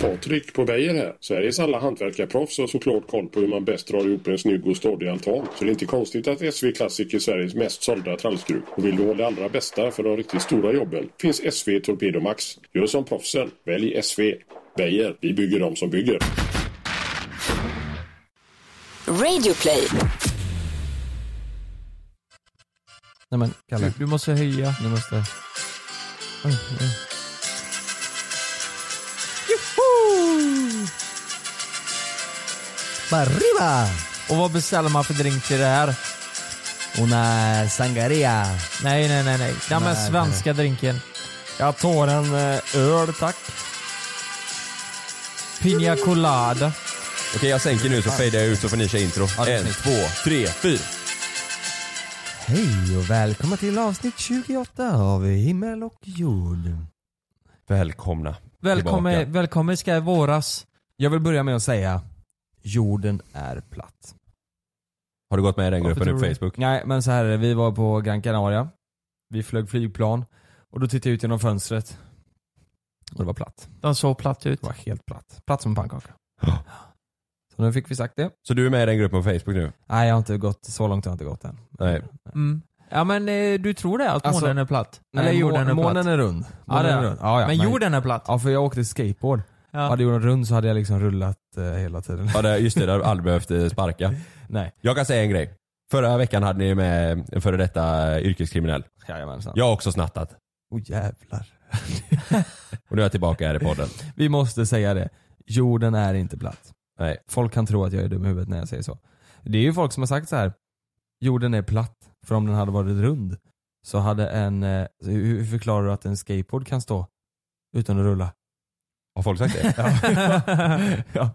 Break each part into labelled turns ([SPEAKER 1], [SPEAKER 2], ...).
[SPEAKER 1] Patrik på Beijer här. Sveriges alla hantverkarproffs har såklart koll på hur man bäst drar ihop en snygg och stadig altan. Så det är inte konstigt att SV Classic är Sveriges mest sålda trallskruv. Och vill du ha det allra bästa för de riktigt stora jobben finns SV Torpedo Max. Gör som proffsen. Välj SV. Beijer. Vi bygger dem som bygger.
[SPEAKER 2] Radioplay.
[SPEAKER 3] Nej men,
[SPEAKER 4] Kalle.
[SPEAKER 3] du, du måste höja. Du måste... Oj, oj.
[SPEAKER 4] Arriba!
[SPEAKER 3] Och vad beställer man för drink till det här?
[SPEAKER 4] Una sangaria.
[SPEAKER 3] Nej, nej, nej, nej. Den med
[SPEAKER 4] Nej, nej.
[SPEAKER 3] svenska drinken. Jag tar en eh, öl, tack. Pina colada.
[SPEAKER 5] Okej, jag sänker nu så fejdar jag ut så får ni köra intro.
[SPEAKER 3] Ja, det är
[SPEAKER 5] en,
[SPEAKER 3] snyggt.
[SPEAKER 5] två, tre, fyra.
[SPEAKER 4] Hej och välkomna till avsnitt 28 av Himmel och jord.
[SPEAKER 5] Välkomna.
[SPEAKER 3] Välkommen,
[SPEAKER 5] Tillbaka.
[SPEAKER 3] välkommen ska i våras.
[SPEAKER 4] Jag vill börja med att säga, jorden är platt.
[SPEAKER 5] Har du gått med i den
[SPEAKER 3] Varför
[SPEAKER 5] gruppen nu
[SPEAKER 3] tror
[SPEAKER 5] på
[SPEAKER 3] du det?
[SPEAKER 5] Facebook?
[SPEAKER 4] Nej,
[SPEAKER 3] Men så här är det, vi var på Gran Canaria. Vi flög flygplan. Och då tittade jag ut genom fönstret.
[SPEAKER 4] Och det var platt.
[SPEAKER 3] Den såg platt ut.
[SPEAKER 4] Det var helt platt. Platt som en pannkaka.
[SPEAKER 5] Ja.
[SPEAKER 4] Så nu fick vi sagt det.
[SPEAKER 5] Så du är med i den gruppen på Facebook nu?
[SPEAKER 4] Nej, jag har inte gått, så långt har jag inte gått än.
[SPEAKER 5] Nej.
[SPEAKER 3] Mm. Ja men eh, du tror det, att
[SPEAKER 4] Alltså-
[SPEAKER 3] månen är platt?
[SPEAKER 4] Nej,
[SPEAKER 3] Eller jorden
[SPEAKER 4] månen,
[SPEAKER 3] är platt?
[SPEAKER 4] månen är rund.
[SPEAKER 3] ja, det
[SPEAKER 4] Månen
[SPEAKER 3] är
[SPEAKER 4] är
[SPEAKER 3] den.
[SPEAKER 4] rund. Ja, ja,
[SPEAKER 3] men jorden är platt?
[SPEAKER 4] Ja, för jag åkte skateboard.
[SPEAKER 3] Ja.
[SPEAKER 4] Hade jorden rund så hade jag liksom rullat eh, hela tiden.
[SPEAKER 5] Ja, det, just det, där har du aldrig behövt eh, sparka.
[SPEAKER 4] Nej.
[SPEAKER 5] Jag kan säga en grej. Förra veckan hade ni med en före detta eh, yrkeskriminell.
[SPEAKER 4] Jajamensan.
[SPEAKER 5] Jag har också snattat.
[SPEAKER 4] Åh jävlar.
[SPEAKER 5] Och nu är jag tillbaka här i podden.
[SPEAKER 4] Vi måste säga det. Jorden är inte platt.
[SPEAKER 5] Nej.
[SPEAKER 4] Folk kan tro att jag är dum i huvudet när jag säger så. Det är ju folk som har sagt så här. Jorden är platt. För om den hade varit rund så hade en... eh, Hur hur förklarar du att en skateboard kan stå utan att rulla?
[SPEAKER 5] Har folk sagt det?
[SPEAKER 4] ja.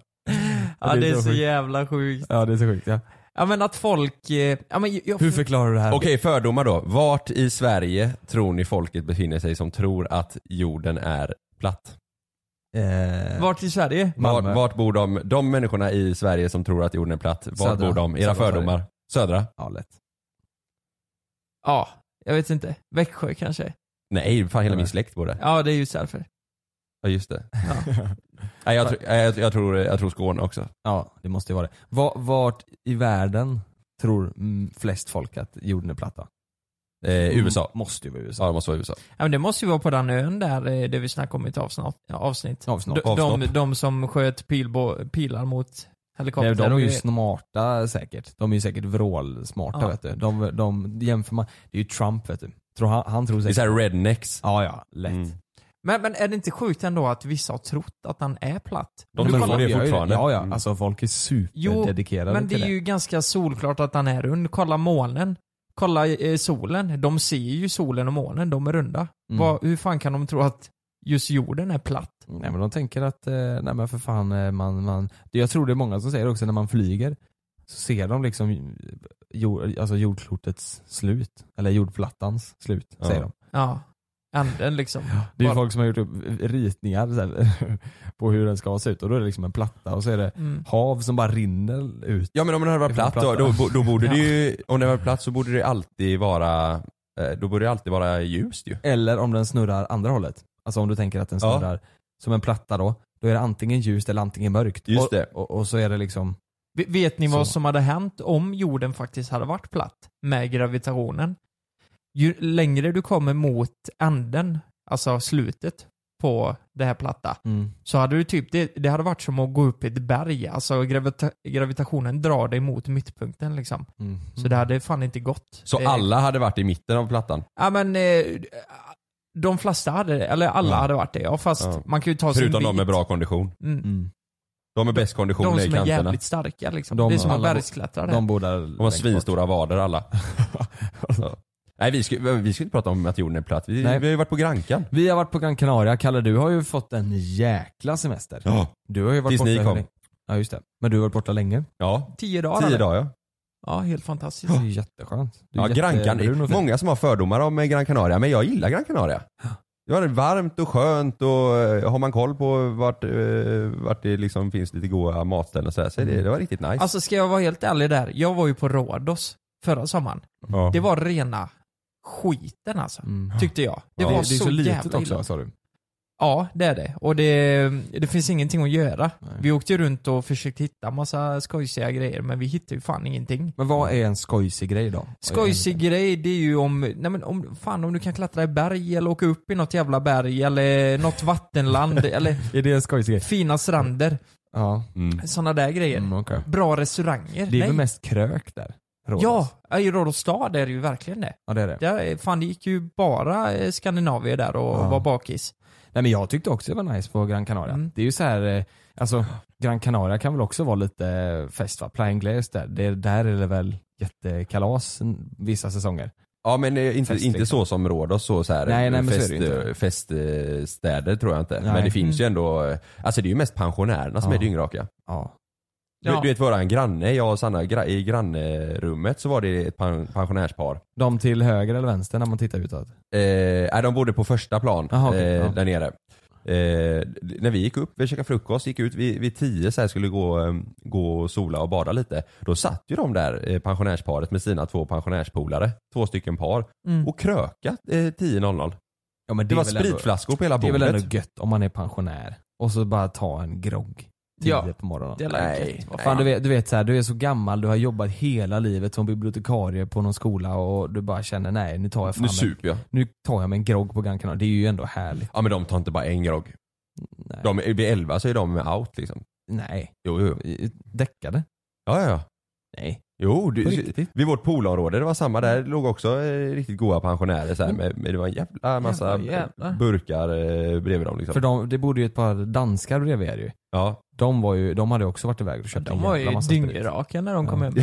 [SPEAKER 3] Ja det är så
[SPEAKER 4] sjukt.
[SPEAKER 3] jävla sjukt.
[SPEAKER 4] Ja det är så sjukt ja.
[SPEAKER 3] Ja men att folk... eh, Ja, men jag,
[SPEAKER 4] Hur förklarar du det här?
[SPEAKER 5] Okej, fördomar då. Vart i Sverige tror ni folket befinner sig som tror att jorden är platt?
[SPEAKER 4] Eh,
[SPEAKER 3] Vart i Sverige?
[SPEAKER 5] Vart,
[SPEAKER 4] Malmö.
[SPEAKER 5] vart bor de, de människorna i Sverige som tror att jorden är platt, vart
[SPEAKER 4] Södra.
[SPEAKER 5] bor de? Era
[SPEAKER 4] Södra
[SPEAKER 5] fördomar?
[SPEAKER 4] Sverige.
[SPEAKER 5] Södra?
[SPEAKER 4] Ja lätt.
[SPEAKER 3] Ja, jag vet inte. Växjö kanske?
[SPEAKER 5] Nej, fan hela
[SPEAKER 4] Nej.
[SPEAKER 5] min släkt bor där.
[SPEAKER 3] Ja det är ju därför.
[SPEAKER 5] Ja just det. Nej, jag, tror- nej, jag, jag, tror, jag tror Skåne också.
[SPEAKER 4] Ja det måste ju vara det. Va- Vart i världen tror mm, flest folk att jorden är platt? då?
[SPEAKER 5] Eh,
[SPEAKER 4] Mm.
[SPEAKER 5] USA.
[SPEAKER 4] Måste ju vara USA.
[SPEAKER 5] Ja det måste vara USA.
[SPEAKER 3] Ja men det måste ju vara på den ön där, eh, där vi snackade om i ett avsnitt. ja, avsnitt.
[SPEAKER 4] Avsnopp.
[SPEAKER 3] De, de, de som sköt pilbo, pilar mot
[SPEAKER 4] Nej,
[SPEAKER 3] helikopter
[SPEAKER 4] de är
[SPEAKER 3] och
[SPEAKER 4] ju
[SPEAKER 3] grejer.
[SPEAKER 4] smarta säkert. De är ju säkert vrålsmarta
[SPEAKER 3] Ja.
[SPEAKER 4] vet du. De, de jämför man, det är ju Trump vet du. Tror han, han tror
[SPEAKER 5] Det är
[SPEAKER 4] säkert...
[SPEAKER 5] såhär rednecks.
[SPEAKER 4] Ja ja, lätt.
[SPEAKER 5] Mm.
[SPEAKER 3] men, men är det inte sjukt ändå att vissa har trott att den är platt?
[SPEAKER 5] De
[SPEAKER 3] Du
[SPEAKER 5] tror
[SPEAKER 3] kollar-
[SPEAKER 5] det
[SPEAKER 4] vi gör ju
[SPEAKER 5] fortfarande.
[SPEAKER 4] Ja ja,
[SPEAKER 5] Mm.
[SPEAKER 4] alltså folk är superdedikerade
[SPEAKER 3] Men det
[SPEAKER 4] till
[SPEAKER 3] är ju ganska solklart att den är rund. Kolla månen. Kolla eh, solen. De ser ju solen och månen. De är runda.
[SPEAKER 4] Mm.
[SPEAKER 3] Vad- hur fan kan de tro att just jorden är platt?
[SPEAKER 4] Nej men de tänker att, eh, nej men för fan eh, man, man, det- jag tror det är många som säger också när man flyger så ser de liksom jord, alltså jordklotets slut, eller jordplattans slut
[SPEAKER 5] Ja.
[SPEAKER 4] säger de.
[SPEAKER 3] Ja. Änden liksom.
[SPEAKER 4] Det är ju
[SPEAKER 3] Bara-
[SPEAKER 4] folk som har gjort upp ritningar så här, på hur den ska se ut och då är det liksom en platta och så är det
[SPEAKER 3] Mm.
[SPEAKER 4] hav som bara rinner ut.
[SPEAKER 5] Ja men om den hade varit
[SPEAKER 4] Ifrån
[SPEAKER 5] platt då, då,
[SPEAKER 4] platta.
[SPEAKER 5] bo- då borde det
[SPEAKER 3] Ja.
[SPEAKER 5] ju, om den var platt så borde det alltid vara, eh, då borde det alltid vara ljust ju.
[SPEAKER 4] Eller om den snurrar andra hållet. Alltså om du tänker att den
[SPEAKER 5] Ja.
[SPEAKER 4] snurrar som en platta då, då är det antingen ljust eller antingen mörkt.
[SPEAKER 5] Just
[SPEAKER 4] och,
[SPEAKER 5] det.
[SPEAKER 4] Och, och så är det liksom,
[SPEAKER 3] V- Vet ni vad
[SPEAKER 4] Så.
[SPEAKER 3] som hade hänt om jorden faktiskt hade varit platt med gravitationen? Ju längre du kommer mot änden, alltså slutet på det här platta,
[SPEAKER 4] mm,
[SPEAKER 3] så hade du typ, det, det hade varit som att gå upp i ett berg. Alltså gravita gravitationen drar dig mot mittpunkten liksom.
[SPEAKER 4] Mm.
[SPEAKER 3] Så det hade fan inte gått.
[SPEAKER 5] Så
[SPEAKER 3] det,
[SPEAKER 5] alla hade varit i mitten av plattan?
[SPEAKER 3] Ja men, eh, de flesta hade det, eller alla
[SPEAKER 5] Ja.
[SPEAKER 3] hade varit det. Ja fast
[SPEAKER 5] Ja.
[SPEAKER 3] man kan ju ta
[SPEAKER 5] Förutom
[SPEAKER 3] sin
[SPEAKER 5] de
[SPEAKER 3] bit.
[SPEAKER 5] med bra kondition.
[SPEAKER 3] Mm.
[SPEAKER 4] Mm.
[SPEAKER 5] De med bäst kondition
[SPEAKER 3] De
[SPEAKER 5] är i
[SPEAKER 3] som är
[SPEAKER 5] kanterna.
[SPEAKER 3] jävligt starka liksom.
[SPEAKER 4] De-
[SPEAKER 3] det är som att
[SPEAKER 4] alla-
[SPEAKER 3] bergsklättra det.
[SPEAKER 4] De bor där längst
[SPEAKER 5] De har
[SPEAKER 4] bort.
[SPEAKER 5] svinstora vader alla. Ja. Nej vi ska, vi ska inte prata om att jorden är platt. Vi, vi
[SPEAKER 4] Nej.
[SPEAKER 5] har ju varit på Grankan.
[SPEAKER 4] Vi har varit på Gran Canaria, Kalle du har ju fått en jäkla semester.
[SPEAKER 5] Ja.
[SPEAKER 4] Du har ju varit
[SPEAKER 5] Tills
[SPEAKER 4] borta
[SPEAKER 5] ni
[SPEAKER 4] hur
[SPEAKER 5] kom.
[SPEAKER 4] länge? Ja just det. Men du har varit borta länge.
[SPEAKER 5] Ja.
[SPEAKER 3] Tio dagar
[SPEAKER 5] Tio
[SPEAKER 3] eller?
[SPEAKER 5] dagar ja.
[SPEAKER 3] Ja, helt fantastiskt.
[SPEAKER 4] Det är ju jätteskönt. Du är
[SPEAKER 5] Ja,
[SPEAKER 4] jättebrun
[SPEAKER 5] Grankan,
[SPEAKER 4] och fin.
[SPEAKER 5] många som har fördomar om eh, Gran Canaria, men jag gillar Gran Canaria. Det var varmt och skönt och eh, har man koll på vart, eh, vart det liksom finns lite goda matställen och sådär, så är
[SPEAKER 4] Mm.
[SPEAKER 5] det, det var riktigt nice.
[SPEAKER 3] Alltså ska jag vara helt ärlig där, jag var ju på Rhodos förra sommaren.
[SPEAKER 5] ja.
[SPEAKER 3] Det var rena skiten alltså,
[SPEAKER 4] Mm.
[SPEAKER 3] tyckte jag. Det
[SPEAKER 4] Ja.
[SPEAKER 3] var
[SPEAKER 4] det är
[SPEAKER 3] så,
[SPEAKER 4] så litet
[SPEAKER 3] jävla
[SPEAKER 4] också
[SPEAKER 3] illa.
[SPEAKER 4] sa du.
[SPEAKER 3] Ja, det är det. Och det, det finns ingenting att göra.
[SPEAKER 4] Nej.
[SPEAKER 3] Vi åkte ju runt och försökte hitta massa skojsiga grejer, men vi hittade ju fan ingenting.
[SPEAKER 4] Men vad är en skojsig grej då?
[SPEAKER 3] Skojsig grej, det är ju om, nej men om, fan om du kan klättra i berg eller åka upp i något jävla berg eller något vattenland eller
[SPEAKER 4] Är det en skojsig grej?
[SPEAKER 3] fina stränder.
[SPEAKER 4] Ja.
[SPEAKER 5] Mm.
[SPEAKER 3] Sådana där grejer.
[SPEAKER 4] Mm, okej.
[SPEAKER 3] Bra restauranger.
[SPEAKER 4] Det är
[SPEAKER 3] nej.
[SPEAKER 4] väl mest krök där? Rhodos?
[SPEAKER 3] Ja, i Rhodos stad är det ju verkligen det.
[SPEAKER 4] Ja det är det.
[SPEAKER 3] Där, är- fan det gick ju bara eh, Skandinavier där och
[SPEAKER 4] Ja.
[SPEAKER 3] var bakis.
[SPEAKER 4] Nej men jag tyckte också det var nice på Gran Canaria.
[SPEAKER 3] Mm.
[SPEAKER 4] Det är ju så här, eh, alltså Gran Canaria kan väl också vara lite eh, fest va? Plain Glaze där. Det, där är det väl jättekalas n- vissa säsonger.
[SPEAKER 5] Ja men eh, inte,
[SPEAKER 4] Fest,
[SPEAKER 5] inte
[SPEAKER 4] liksom.
[SPEAKER 5] så som Rhodos så, så här,
[SPEAKER 4] Nej, nej, men så är
[SPEAKER 5] fest,
[SPEAKER 4] det ju inte.
[SPEAKER 5] eh, feststäder tror jag inte.
[SPEAKER 4] Nej. Mm.
[SPEAKER 5] Men det finns ju ändå, eh, alltså det är ju mest pensionärerna som
[SPEAKER 4] Ja.
[SPEAKER 5] är dyngraka.
[SPEAKER 4] Ja.
[SPEAKER 5] Du,
[SPEAKER 3] Ja.
[SPEAKER 5] du vet våran granne, jag och Sanna, gra- i grannrummet så var det ett pen- pensionärspar.
[SPEAKER 4] De till höger eller vänster när man tittar utåt?
[SPEAKER 5] Eh, nej, de bodde på första plan
[SPEAKER 4] Aha, okej,
[SPEAKER 5] eh,
[SPEAKER 4] ja.
[SPEAKER 5] där nere. Eh, d- när vi gick upp, vi käkade frukost, gick ut vid, vid tio så här skulle gå, eh, gå och sola och bada lite. Då satt ju de där eh, pensionärsparet med sina två pensionärspolare, två stycken par,
[SPEAKER 3] Mm.
[SPEAKER 5] och krökat eh, 10.00. Det,
[SPEAKER 4] Ja, men
[SPEAKER 5] var
[SPEAKER 4] är väl ändå-
[SPEAKER 5] spritflaskor på hela
[SPEAKER 4] Det är
[SPEAKER 5] bordet.
[SPEAKER 4] väl ändå gött om man är pensionär och så bara ta en grogg tio
[SPEAKER 3] Ja.
[SPEAKER 4] på morgonen.
[SPEAKER 3] Det är
[SPEAKER 5] Nej,
[SPEAKER 3] gött. Vad
[SPEAKER 4] Fan, du vet, du vet så här, du är så gammal, du har jobbat hela livet som bibliotekarie på någon skola och du bara känner nej nu tar jag fan
[SPEAKER 5] nu
[SPEAKER 4] en,
[SPEAKER 5] super jag.
[SPEAKER 4] nu tar jag mig en grogg på Gran Canaria. Det är ju ändå härligt.
[SPEAKER 5] Ja men de tar inte bara en grogg.
[SPEAKER 4] Nej.
[SPEAKER 5] De, vid 11 så är de out liksom.
[SPEAKER 4] nej.
[SPEAKER 5] Jo, jo. jo.
[SPEAKER 4] Däckade?
[SPEAKER 5] Ja, ja, ja.
[SPEAKER 4] Nej.
[SPEAKER 5] Jo,
[SPEAKER 4] På
[SPEAKER 5] du,
[SPEAKER 4] riktigt?
[SPEAKER 5] vid vårt poolområde, det var samma där, låg också eh, riktigt goda pensionärer så här, med, med, det var en jävla massa
[SPEAKER 3] Jävlar, jävlar.
[SPEAKER 5] burkar eh, bredvid dem liksom.
[SPEAKER 4] För de, det bodde ju ett par danskar bredvid er ju.
[SPEAKER 5] Ja.
[SPEAKER 4] De, var ju, de hade ju också varit iväg och köpt
[SPEAKER 3] De var ju dyngraka när de kom
[SPEAKER 4] Ja.
[SPEAKER 3] hem.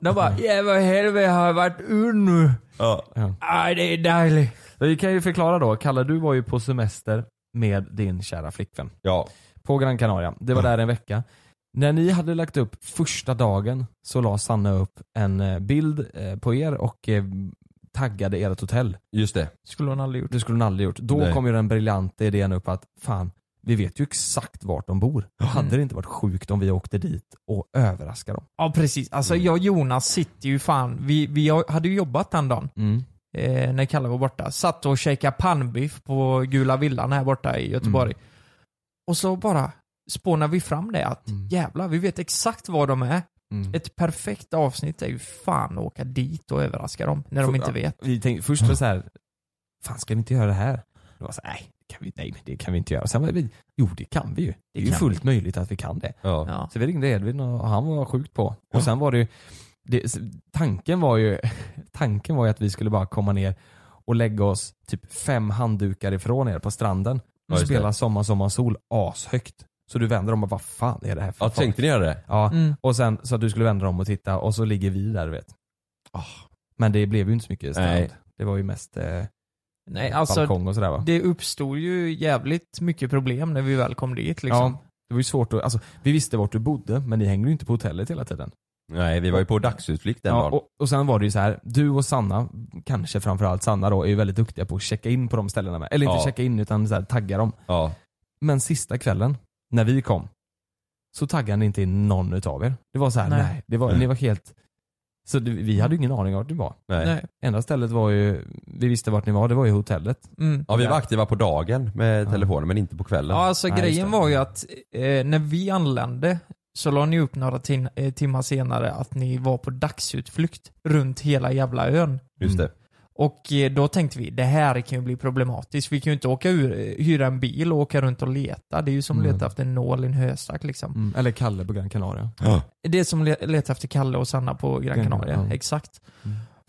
[SPEAKER 3] De bara ja vad helvete har jag varit ur nu?
[SPEAKER 5] ja.
[SPEAKER 3] Aj det är dejligt.
[SPEAKER 4] Vi kan ju förklara då, Kalle du var ju på semester med din kära flickvän.
[SPEAKER 5] Ja.
[SPEAKER 4] på Gran Canaria. Det var där en vecka. När ni hade lagt upp första dagen så la Sanna upp en eh, bild eh, på er och eh, taggade ert hotell.
[SPEAKER 5] Just det.
[SPEAKER 3] Skulle hon aldrig gjort.
[SPEAKER 4] Det skulle hon aldrig gjort. Då
[SPEAKER 5] Nej.
[SPEAKER 4] kom ju den briljanta idén upp att fan, vi vet ju exakt vart de bor. Hade det inte varit sjukt om vi åkte dit och överraskade dem?
[SPEAKER 3] Ja precis. Alltså
[SPEAKER 4] Mm.
[SPEAKER 3] jag och Jonas sitter ju fan, vi, vi hade ju jobbat den dagen. eh, när Kalle var borta. Satt och käkade pannbiff på Gula Villan här borta i Göteborg.
[SPEAKER 5] Mm.
[SPEAKER 3] Och så bara spånar vi fram det att
[SPEAKER 4] Mm.
[SPEAKER 3] jävlar, vi vet exakt var de är.
[SPEAKER 4] Mm.
[SPEAKER 3] Ett perfekt avsnitt är ju fan att åka dit och överraska dem när de
[SPEAKER 4] För-
[SPEAKER 3] inte
[SPEAKER 4] ja,
[SPEAKER 3] vet.
[SPEAKER 4] Vi tänkte, först var det så här, fan ska vi inte göra det här? Det var så här, nej, det kan vi, nej men det kan vi inte göra. Sen var vi, jo det kan vi ju. Det är ju
[SPEAKER 3] kan
[SPEAKER 4] fullt möjligt att vi kan det.
[SPEAKER 5] Ja.
[SPEAKER 3] Ja.
[SPEAKER 4] Så vi ringde Edvin och han var sjukt på. Och sen var det ju, det, s- tanken var ju, tanken var ju att vi skulle bara komma ner och lägga oss typ fem handdukar ifrån er på stranden.
[SPEAKER 5] Ja,
[SPEAKER 4] Och
[SPEAKER 5] just det.
[SPEAKER 4] spela Sommar, Sommar, Sol ashögt. Så du vänder om och vad fan är det här för
[SPEAKER 5] ja
[SPEAKER 4] folk?
[SPEAKER 5] tänkte ni göra det?
[SPEAKER 4] Ja,
[SPEAKER 3] Mm.
[SPEAKER 4] och sen så att du skulle vända om och titta och så ligger vi där du vet.
[SPEAKER 3] Ah.
[SPEAKER 4] Men det blev ju inte så mycket strand.
[SPEAKER 5] Nej.
[SPEAKER 4] Det var ju mest eh,
[SPEAKER 3] Nej, alltså
[SPEAKER 4] balkong och sådär va?
[SPEAKER 3] det uppstod ju jävligt mycket problem när vi väl kom dit liksom.
[SPEAKER 4] Ja, det var ju svårt att, alltså vi visste vart du bodde men ni hängde ju inte på hotellet hela tiden.
[SPEAKER 5] Nej, vi var ju på dagsutflykt den
[SPEAKER 4] Ja,
[SPEAKER 5] dagen.
[SPEAKER 4] och, och sen var det ju så här, du och Sanna, kanske framförallt Sanna då, är ju väldigt duktiga på att checka in på de ställena med. Eller inte
[SPEAKER 5] Ja.
[SPEAKER 4] checka in utan så här, tagga dem.
[SPEAKER 5] Ja.
[SPEAKER 4] Men sista kvällen, när vi kom, så taggade ni inte in någon utav er. Det var så här, nej,
[SPEAKER 3] Nej.
[SPEAKER 4] det var,
[SPEAKER 5] Nej.
[SPEAKER 4] ni var helt... Så det, vi hade ju ingen aning om vart du var.
[SPEAKER 5] Nej.
[SPEAKER 3] Nej.
[SPEAKER 4] Enda stället var ju, vi visste vart ni var, det var ju hotellet.
[SPEAKER 3] Mm.
[SPEAKER 5] Ja vi var
[SPEAKER 4] Ja.
[SPEAKER 5] aktiva på dagen med
[SPEAKER 4] Ja.
[SPEAKER 5] telefonen men inte på kvällen.
[SPEAKER 3] Ja, alltså
[SPEAKER 4] Nej, just
[SPEAKER 3] grejen
[SPEAKER 4] det.
[SPEAKER 3] var ju att eh, när vi anlände så la ni upp några tin- eh, timmar senare att ni var på dagsutflykt runt hela jävla ön.
[SPEAKER 5] Just det.
[SPEAKER 3] Och eh, då tänkte vi, det här kan ju bli problematiskt. Vi kan ju inte åka ur, eh, hyra en bil och åka runt och leta. Det är ju som att
[SPEAKER 4] Mm.
[SPEAKER 3] leta efter en nål i en höstack liksom.
[SPEAKER 4] Eller Kalle på Gran Canaria.
[SPEAKER 3] Det är som att le- leta efter Kalle och Sanna på Gran
[SPEAKER 4] Gran
[SPEAKER 3] Canaria.
[SPEAKER 4] Canaria, ja. Mm.
[SPEAKER 3] Exakt.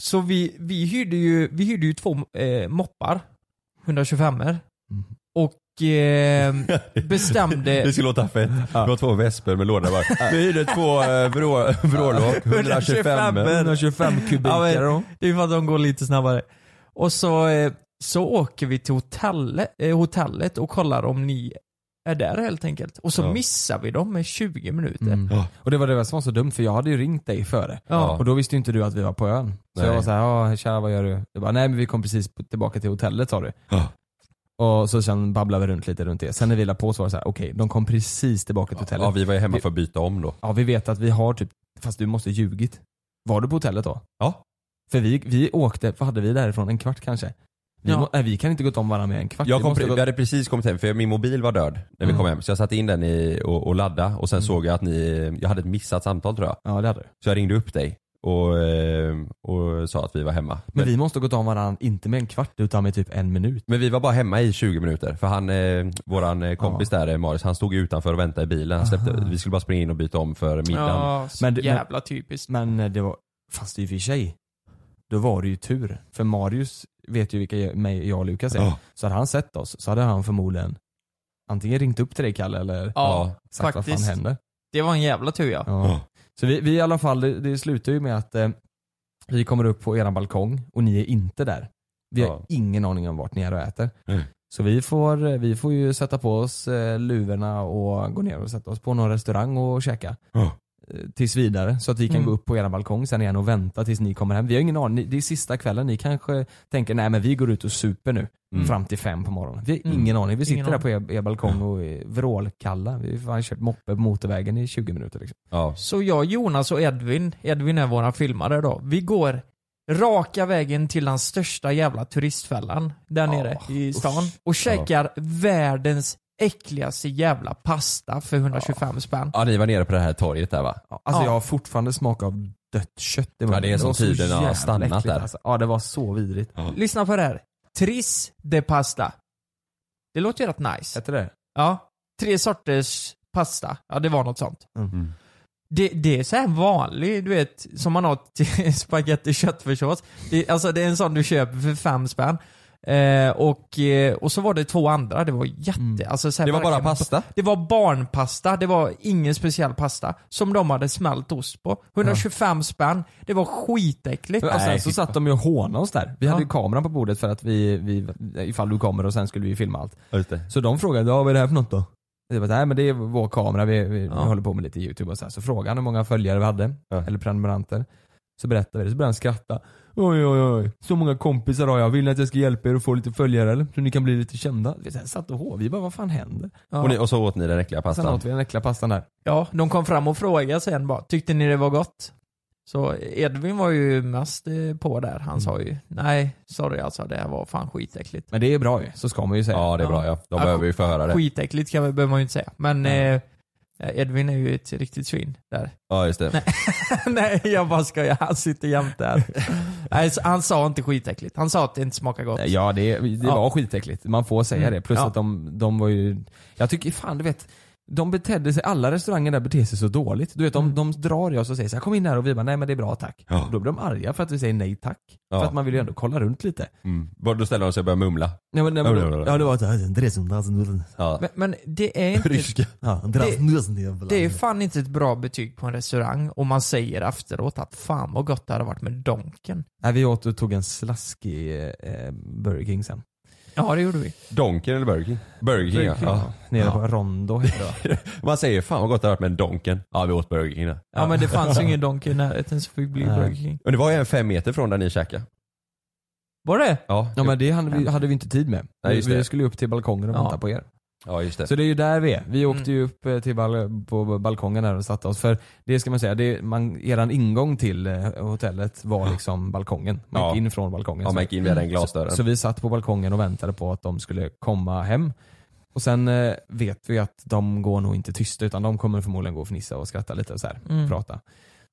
[SPEAKER 3] Så vi, vi, hyrde ju, vi hyrde ju två eh, moppar, 125 er
[SPEAKER 4] Mm.
[SPEAKER 3] och eh, bestämde...
[SPEAKER 5] Det skulle låta fett. Det var två vesper med låda bara. Vi hyrde två eh, vrå, vrålåk, 125.
[SPEAKER 4] 125 kubikare
[SPEAKER 3] Ja, men-
[SPEAKER 4] då.
[SPEAKER 3] Det är för att de går lite snabbare. Och så, eh, så åker vi till hotellet, eh, hotellet och kollar om ni är där helt enkelt. Och så
[SPEAKER 5] Ja.
[SPEAKER 3] missar vi dem med 20 minuter.
[SPEAKER 4] Mm.
[SPEAKER 5] Ja.
[SPEAKER 4] Och det var det som var så dumt för jag hade ju ringt dig före.
[SPEAKER 3] Ja.
[SPEAKER 4] Och då visste ju inte du att vi var på ön. Så
[SPEAKER 5] Nej.
[SPEAKER 4] jag var såhär, ja tja vad gör du? Jag bara, nej men vi kom precis på- tillbaka till hotellet sa du.
[SPEAKER 5] Ja.
[SPEAKER 4] Och så sen babblade vi runt lite runt det. Sen när vi la på så var det såhär, okej de kom precis tillbaka till hotellet.
[SPEAKER 5] Ja
[SPEAKER 4] Ja vi...
[SPEAKER 5] vi var ju hemma för att byta om då.
[SPEAKER 4] vet att vi har typ, fast du måste ljugit. Var du på hotellet då?
[SPEAKER 5] Ja.
[SPEAKER 4] För vi, vi åkte, vad hade vi därifrån? En kvart kanske? Vi,
[SPEAKER 3] Ja.
[SPEAKER 4] må, nej, vi kan inte gått om varandra med en kvart.
[SPEAKER 5] Jag
[SPEAKER 4] Vi
[SPEAKER 5] kom,
[SPEAKER 4] måste
[SPEAKER 5] pre-
[SPEAKER 4] gå-
[SPEAKER 5] vi hade precis kommit hem för min mobil var död när vi
[SPEAKER 4] Mm.
[SPEAKER 5] kom hem. Så jag satte in den i, och, och laddade och sen såg jag att ni, jag hade ett missat samtal tror jag.
[SPEAKER 4] Ja det hade du.
[SPEAKER 5] Så jag ringde upp dig och, eh, och sa att vi var hemma.
[SPEAKER 4] Men vi måste gått om varandra, inte med en kvart utan med typ en minut.
[SPEAKER 5] Men vi var bara hemma i 20 minuter för han, eh, våran eh, kompis där, eh, Marius, han stod ju utanför och väntade i bilen. Han släppte,
[SPEAKER 4] Ah.
[SPEAKER 5] vi skulle bara springa in och byta om för middagen.
[SPEAKER 3] Ja, så
[SPEAKER 4] Men du- men-
[SPEAKER 3] jävla typiskt.
[SPEAKER 4] Men eh, det var, fast i och för sig, då var det ju tur. För Marius vet ju vilka jag, mig, jag och Lukas är.
[SPEAKER 5] Ja.
[SPEAKER 4] Så hade han sett oss så hade han förmodligen antingen ringt upp till dig Kalle eller
[SPEAKER 3] Ja,
[SPEAKER 4] sagt vad
[SPEAKER 3] faktiskt.
[SPEAKER 4] fan händer.
[SPEAKER 3] Det var en jävla tur ja.
[SPEAKER 4] Ja. Så vi, vi i alla fall, det, det slutar ju med att eh, vi kommer upp på eran balkong och ni är inte där. Vi har
[SPEAKER 5] Ja.
[SPEAKER 4] ingen aning om vart ni är och äter.
[SPEAKER 5] Mm.
[SPEAKER 4] Så vi får, eh, vi får ju sätta på oss eh, luvorna och gå ner och sätta oss på någon restaurang och käka.
[SPEAKER 5] Ja.
[SPEAKER 4] Eh, Tills vidare, så att vi kan
[SPEAKER 3] Mm.
[SPEAKER 4] gå upp på eran balkong sen igen och vänta tills ni kommer hem. Vi har ingen aning, Ni- det är sista kvällen, ni kanske tänker nej men vi går ut och super nu.
[SPEAKER 5] Mm.
[SPEAKER 4] Fram till fem på morgonen. Vi har
[SPEAKER 3] Mm.
[SPEAKER 4] ingen aning, vi sitter
[SPEAKER 3] Ingen
[SPEAKER 4] där på er, er balkong och är vrålkalla. Vi har fan kört moppe på motorvägen i 20 minuter liksom.
[SPEAKER 5] Ja.
[SPEAKER 3] Så jag, Jonas och Edvin, Edvin är våran filmare då, vi går raka vägen till den största jävla turistfällan där nere i stan och käkar världens äckligaste jävla pasta för 125 spänn.
[SPEAKER 5] ja, ni var nere på det här torget där va?
[SPEAKER 4] Ja, Alltså
[SPEAKER 3] Ja.
[SPEAKER 4] jag har fortfarande smak av dött kött i munnen.
[SPEAKER 5] Ja, det är som
[SPEAKER 4] var så
[SPEAKER 5] tiden har
[SPEAKER 4] jävla
[SPEAKER 5] stannat
[SPEAKER 4] äckligt,
[SPEAKER 5] där.
[SPEAKER 4] Alltså. Ja det var så vidrigt.
[SPEAKER 3] Lyssna på det här. Tris de pasta. Det låter ju rätt nice.
[SPEAKER 4] Hette det?
[SPEAKER 3] Ja. Tre sorters pasta. Ja, det var något sånt.
[SPEAKER 4] Mm.
[SPEAKER 3] Det, det är så här vanlig, du vet, som man har till spagetti köttfärssås. Det, alltså det är en sån du köper för fem spänn. Eh, och, eh, och så var det två andra, det var jätte...
[SPEAKER 4] Mm.
[SPEAKER 3] Alltså, så här
[SPEAKER 5] Det var bara
[SPEAKER 3] verkligen-
[SPEAKER 5] pasta.
[SPEAKER 3] Det var barnpasta, det var ingen speciell pasta. Som de hade smält ost på. 125 spänn, det var skitäckligt.
[SPEAKER 4] och sen Alltså, så satt de ju och hånade oss där. Vi
[SPEAKER 3] Ja.
[SPEAKER 4] hade ju kameran på bordet för att vi, vi, ifall du kommer och sen skulle vi filma allt.
[SPEAKER 5] Ja, just det.
[SPEAKER 4] Så de frågade, ja vad är det här för något då? Jag bara, nej men det är vår kamera, vi, vi,
[SPEAKER 3] Ja.
[SPEAKER 4] vi håller på med lite youtube och så här. Så frågade han hur många följare vi hade,
[SPEAKER 5] Ja.
[SPEAKER 4] eller prenumeranter. Så berättade vi det, så började han skratta. Oj oj oj, så många kompisar har jag, vill ni att jag ska hjälpa er att få lite följare eller? Så ni kan bli lite kända. Vi så här satt och hå, vi bara vad fan händer?
[SPEAKER 3] Ja.
[SPEAKER 5] Och, ni, och så åt ni den äckliga
[SPEAKER 4] Sen
[SPEAKER 5] pastan.
[SPEAKER 4] åt vi den äckliga pastan där.
[SPEAKER 3] Ja, de kom fram och frågade sen bara, tyckte ni det var gott? Så Edvin var ju mest eh, på där, han sa ju nej, sorry alltså det här var fan skitäckligt.
[SPEAKER 4] Men det är bra ju, så ska man ju säga.
[SPEAKER 5] Ja det är bra ja. De behöver ju få höra det.
[SPEAKER 3] Skitäckligt kan, vi- behöver man ju inte säga, men eh, Edvin är ju ett riktigt svin där.
[SPEAKER 5] Ja just det.
[SPEAKER 3] nej, jag bara skojar, han sitter jämt där. nej, så han sa inte skitäckligt, han sa att det inte smakar gott.
[SPEAKER 4] Ja det, det
[SPEAKER 3] Ja.
[SPEAKER 4] var skitäckligt, man får säga
[SPEAKER 3] Mm.
[SPEAKER 4] det. Plus
[SPEAKER 3] Ja.
[SPEAKER 4] att de, de var ju, jag tycker fan du vet, de betedde sig, alla restauranger där beter sig så dåligt. Du vet de, de drar i oss och säger så här, kom in här och vi bara nej men det är bra tack.
[SPEAKER 5] Ja.
[SPEAKER 4] Och då blir de arga för att vi säger nej tack.
[SPEAKER 5] Ja.
[SPEAKER 4] För att man vill ju ändå kolla runt lite.
[SPEAKER 5] Mm. Bara Då ställer de sig och börjar mumla.
[SPEAKER 4] Ja, men, nej, men,
[SPEAKER 5] Ja, ja, ja.
[SPEAKER 4] ja det var såhär,
[SPEAKER 5] Ja.
[SPEAKER 3] Men, men det är inte
[SPEAKER 5] Ryska.
[SPEAKER 4] ja,
[SPEAKER 3] Det är fan inte ett bra betyg på en restaurang om man säger efteråt att fan vad gott det hade varit med donken.
[SPEAKER 4] Nej vi åt och tog en slaskig eh, Burger King sen.
[SPEAKER 3] Ja det gjorde vi.
[SPEAKER 5] Donken eller Burger King? Burger King, ja. ja.
[SPEAKER 4] Nere
[SPEAKER 5] Ja.
[SPEAKER 4] på Rondo hette det va?
[SPEAKER 5] Man säger fan vad gott det har varit med en Donken. Ja vi åt Burger King där.
[SPEAKER 3] Ja, men det fanns ju ingen Donken i närheten så fick bli
[SPEAKER 4] Nej.
[SPEAKER 3] Burger King.
[SPEAKER 5] Och det var ju en fem meter från där ni käkade.
[SPEAKER 3] Var det?
[SPEAKER 5] Ja,
[SPEAKER 4] Ja men det hade vi, hade vi inte tid med.
[SPEAKER 5] Nej,
[SPEAKER 4] vi,
[SPEAKER 5] just det.
[SPEAKER 4] vi skulle ju upp till balkongen och
[SPEAKER 3] Ja.
[SPEAKER 4] vänta på er.
[SPEAKER 5] ja just det. Mm.
[SPEAKER 4] Så det är ju där vi är. Vi åkte ju upp eh, till bal på balkongen där och satte oss. För det ska man säga, det man, eran ingång till eh, hotellet var liksom balkongen. Man gick
[SPEAKER 5] Ja.
[SPEAKER 4] in från balkongen.
[SPEAKER 5] Ja, man gick in via den glasdörren.
[SPEAKER 4] Mm. Så, så vi satt på balkongen och väntade på att de skulle komma hem. Och sen eh, vet vi att de går nog inte tysta utan de kommer förmodligen gå och fnissa och skratta lite och så här,
[SPEAKER 3] Mm.
[SPEAKER 4] prata.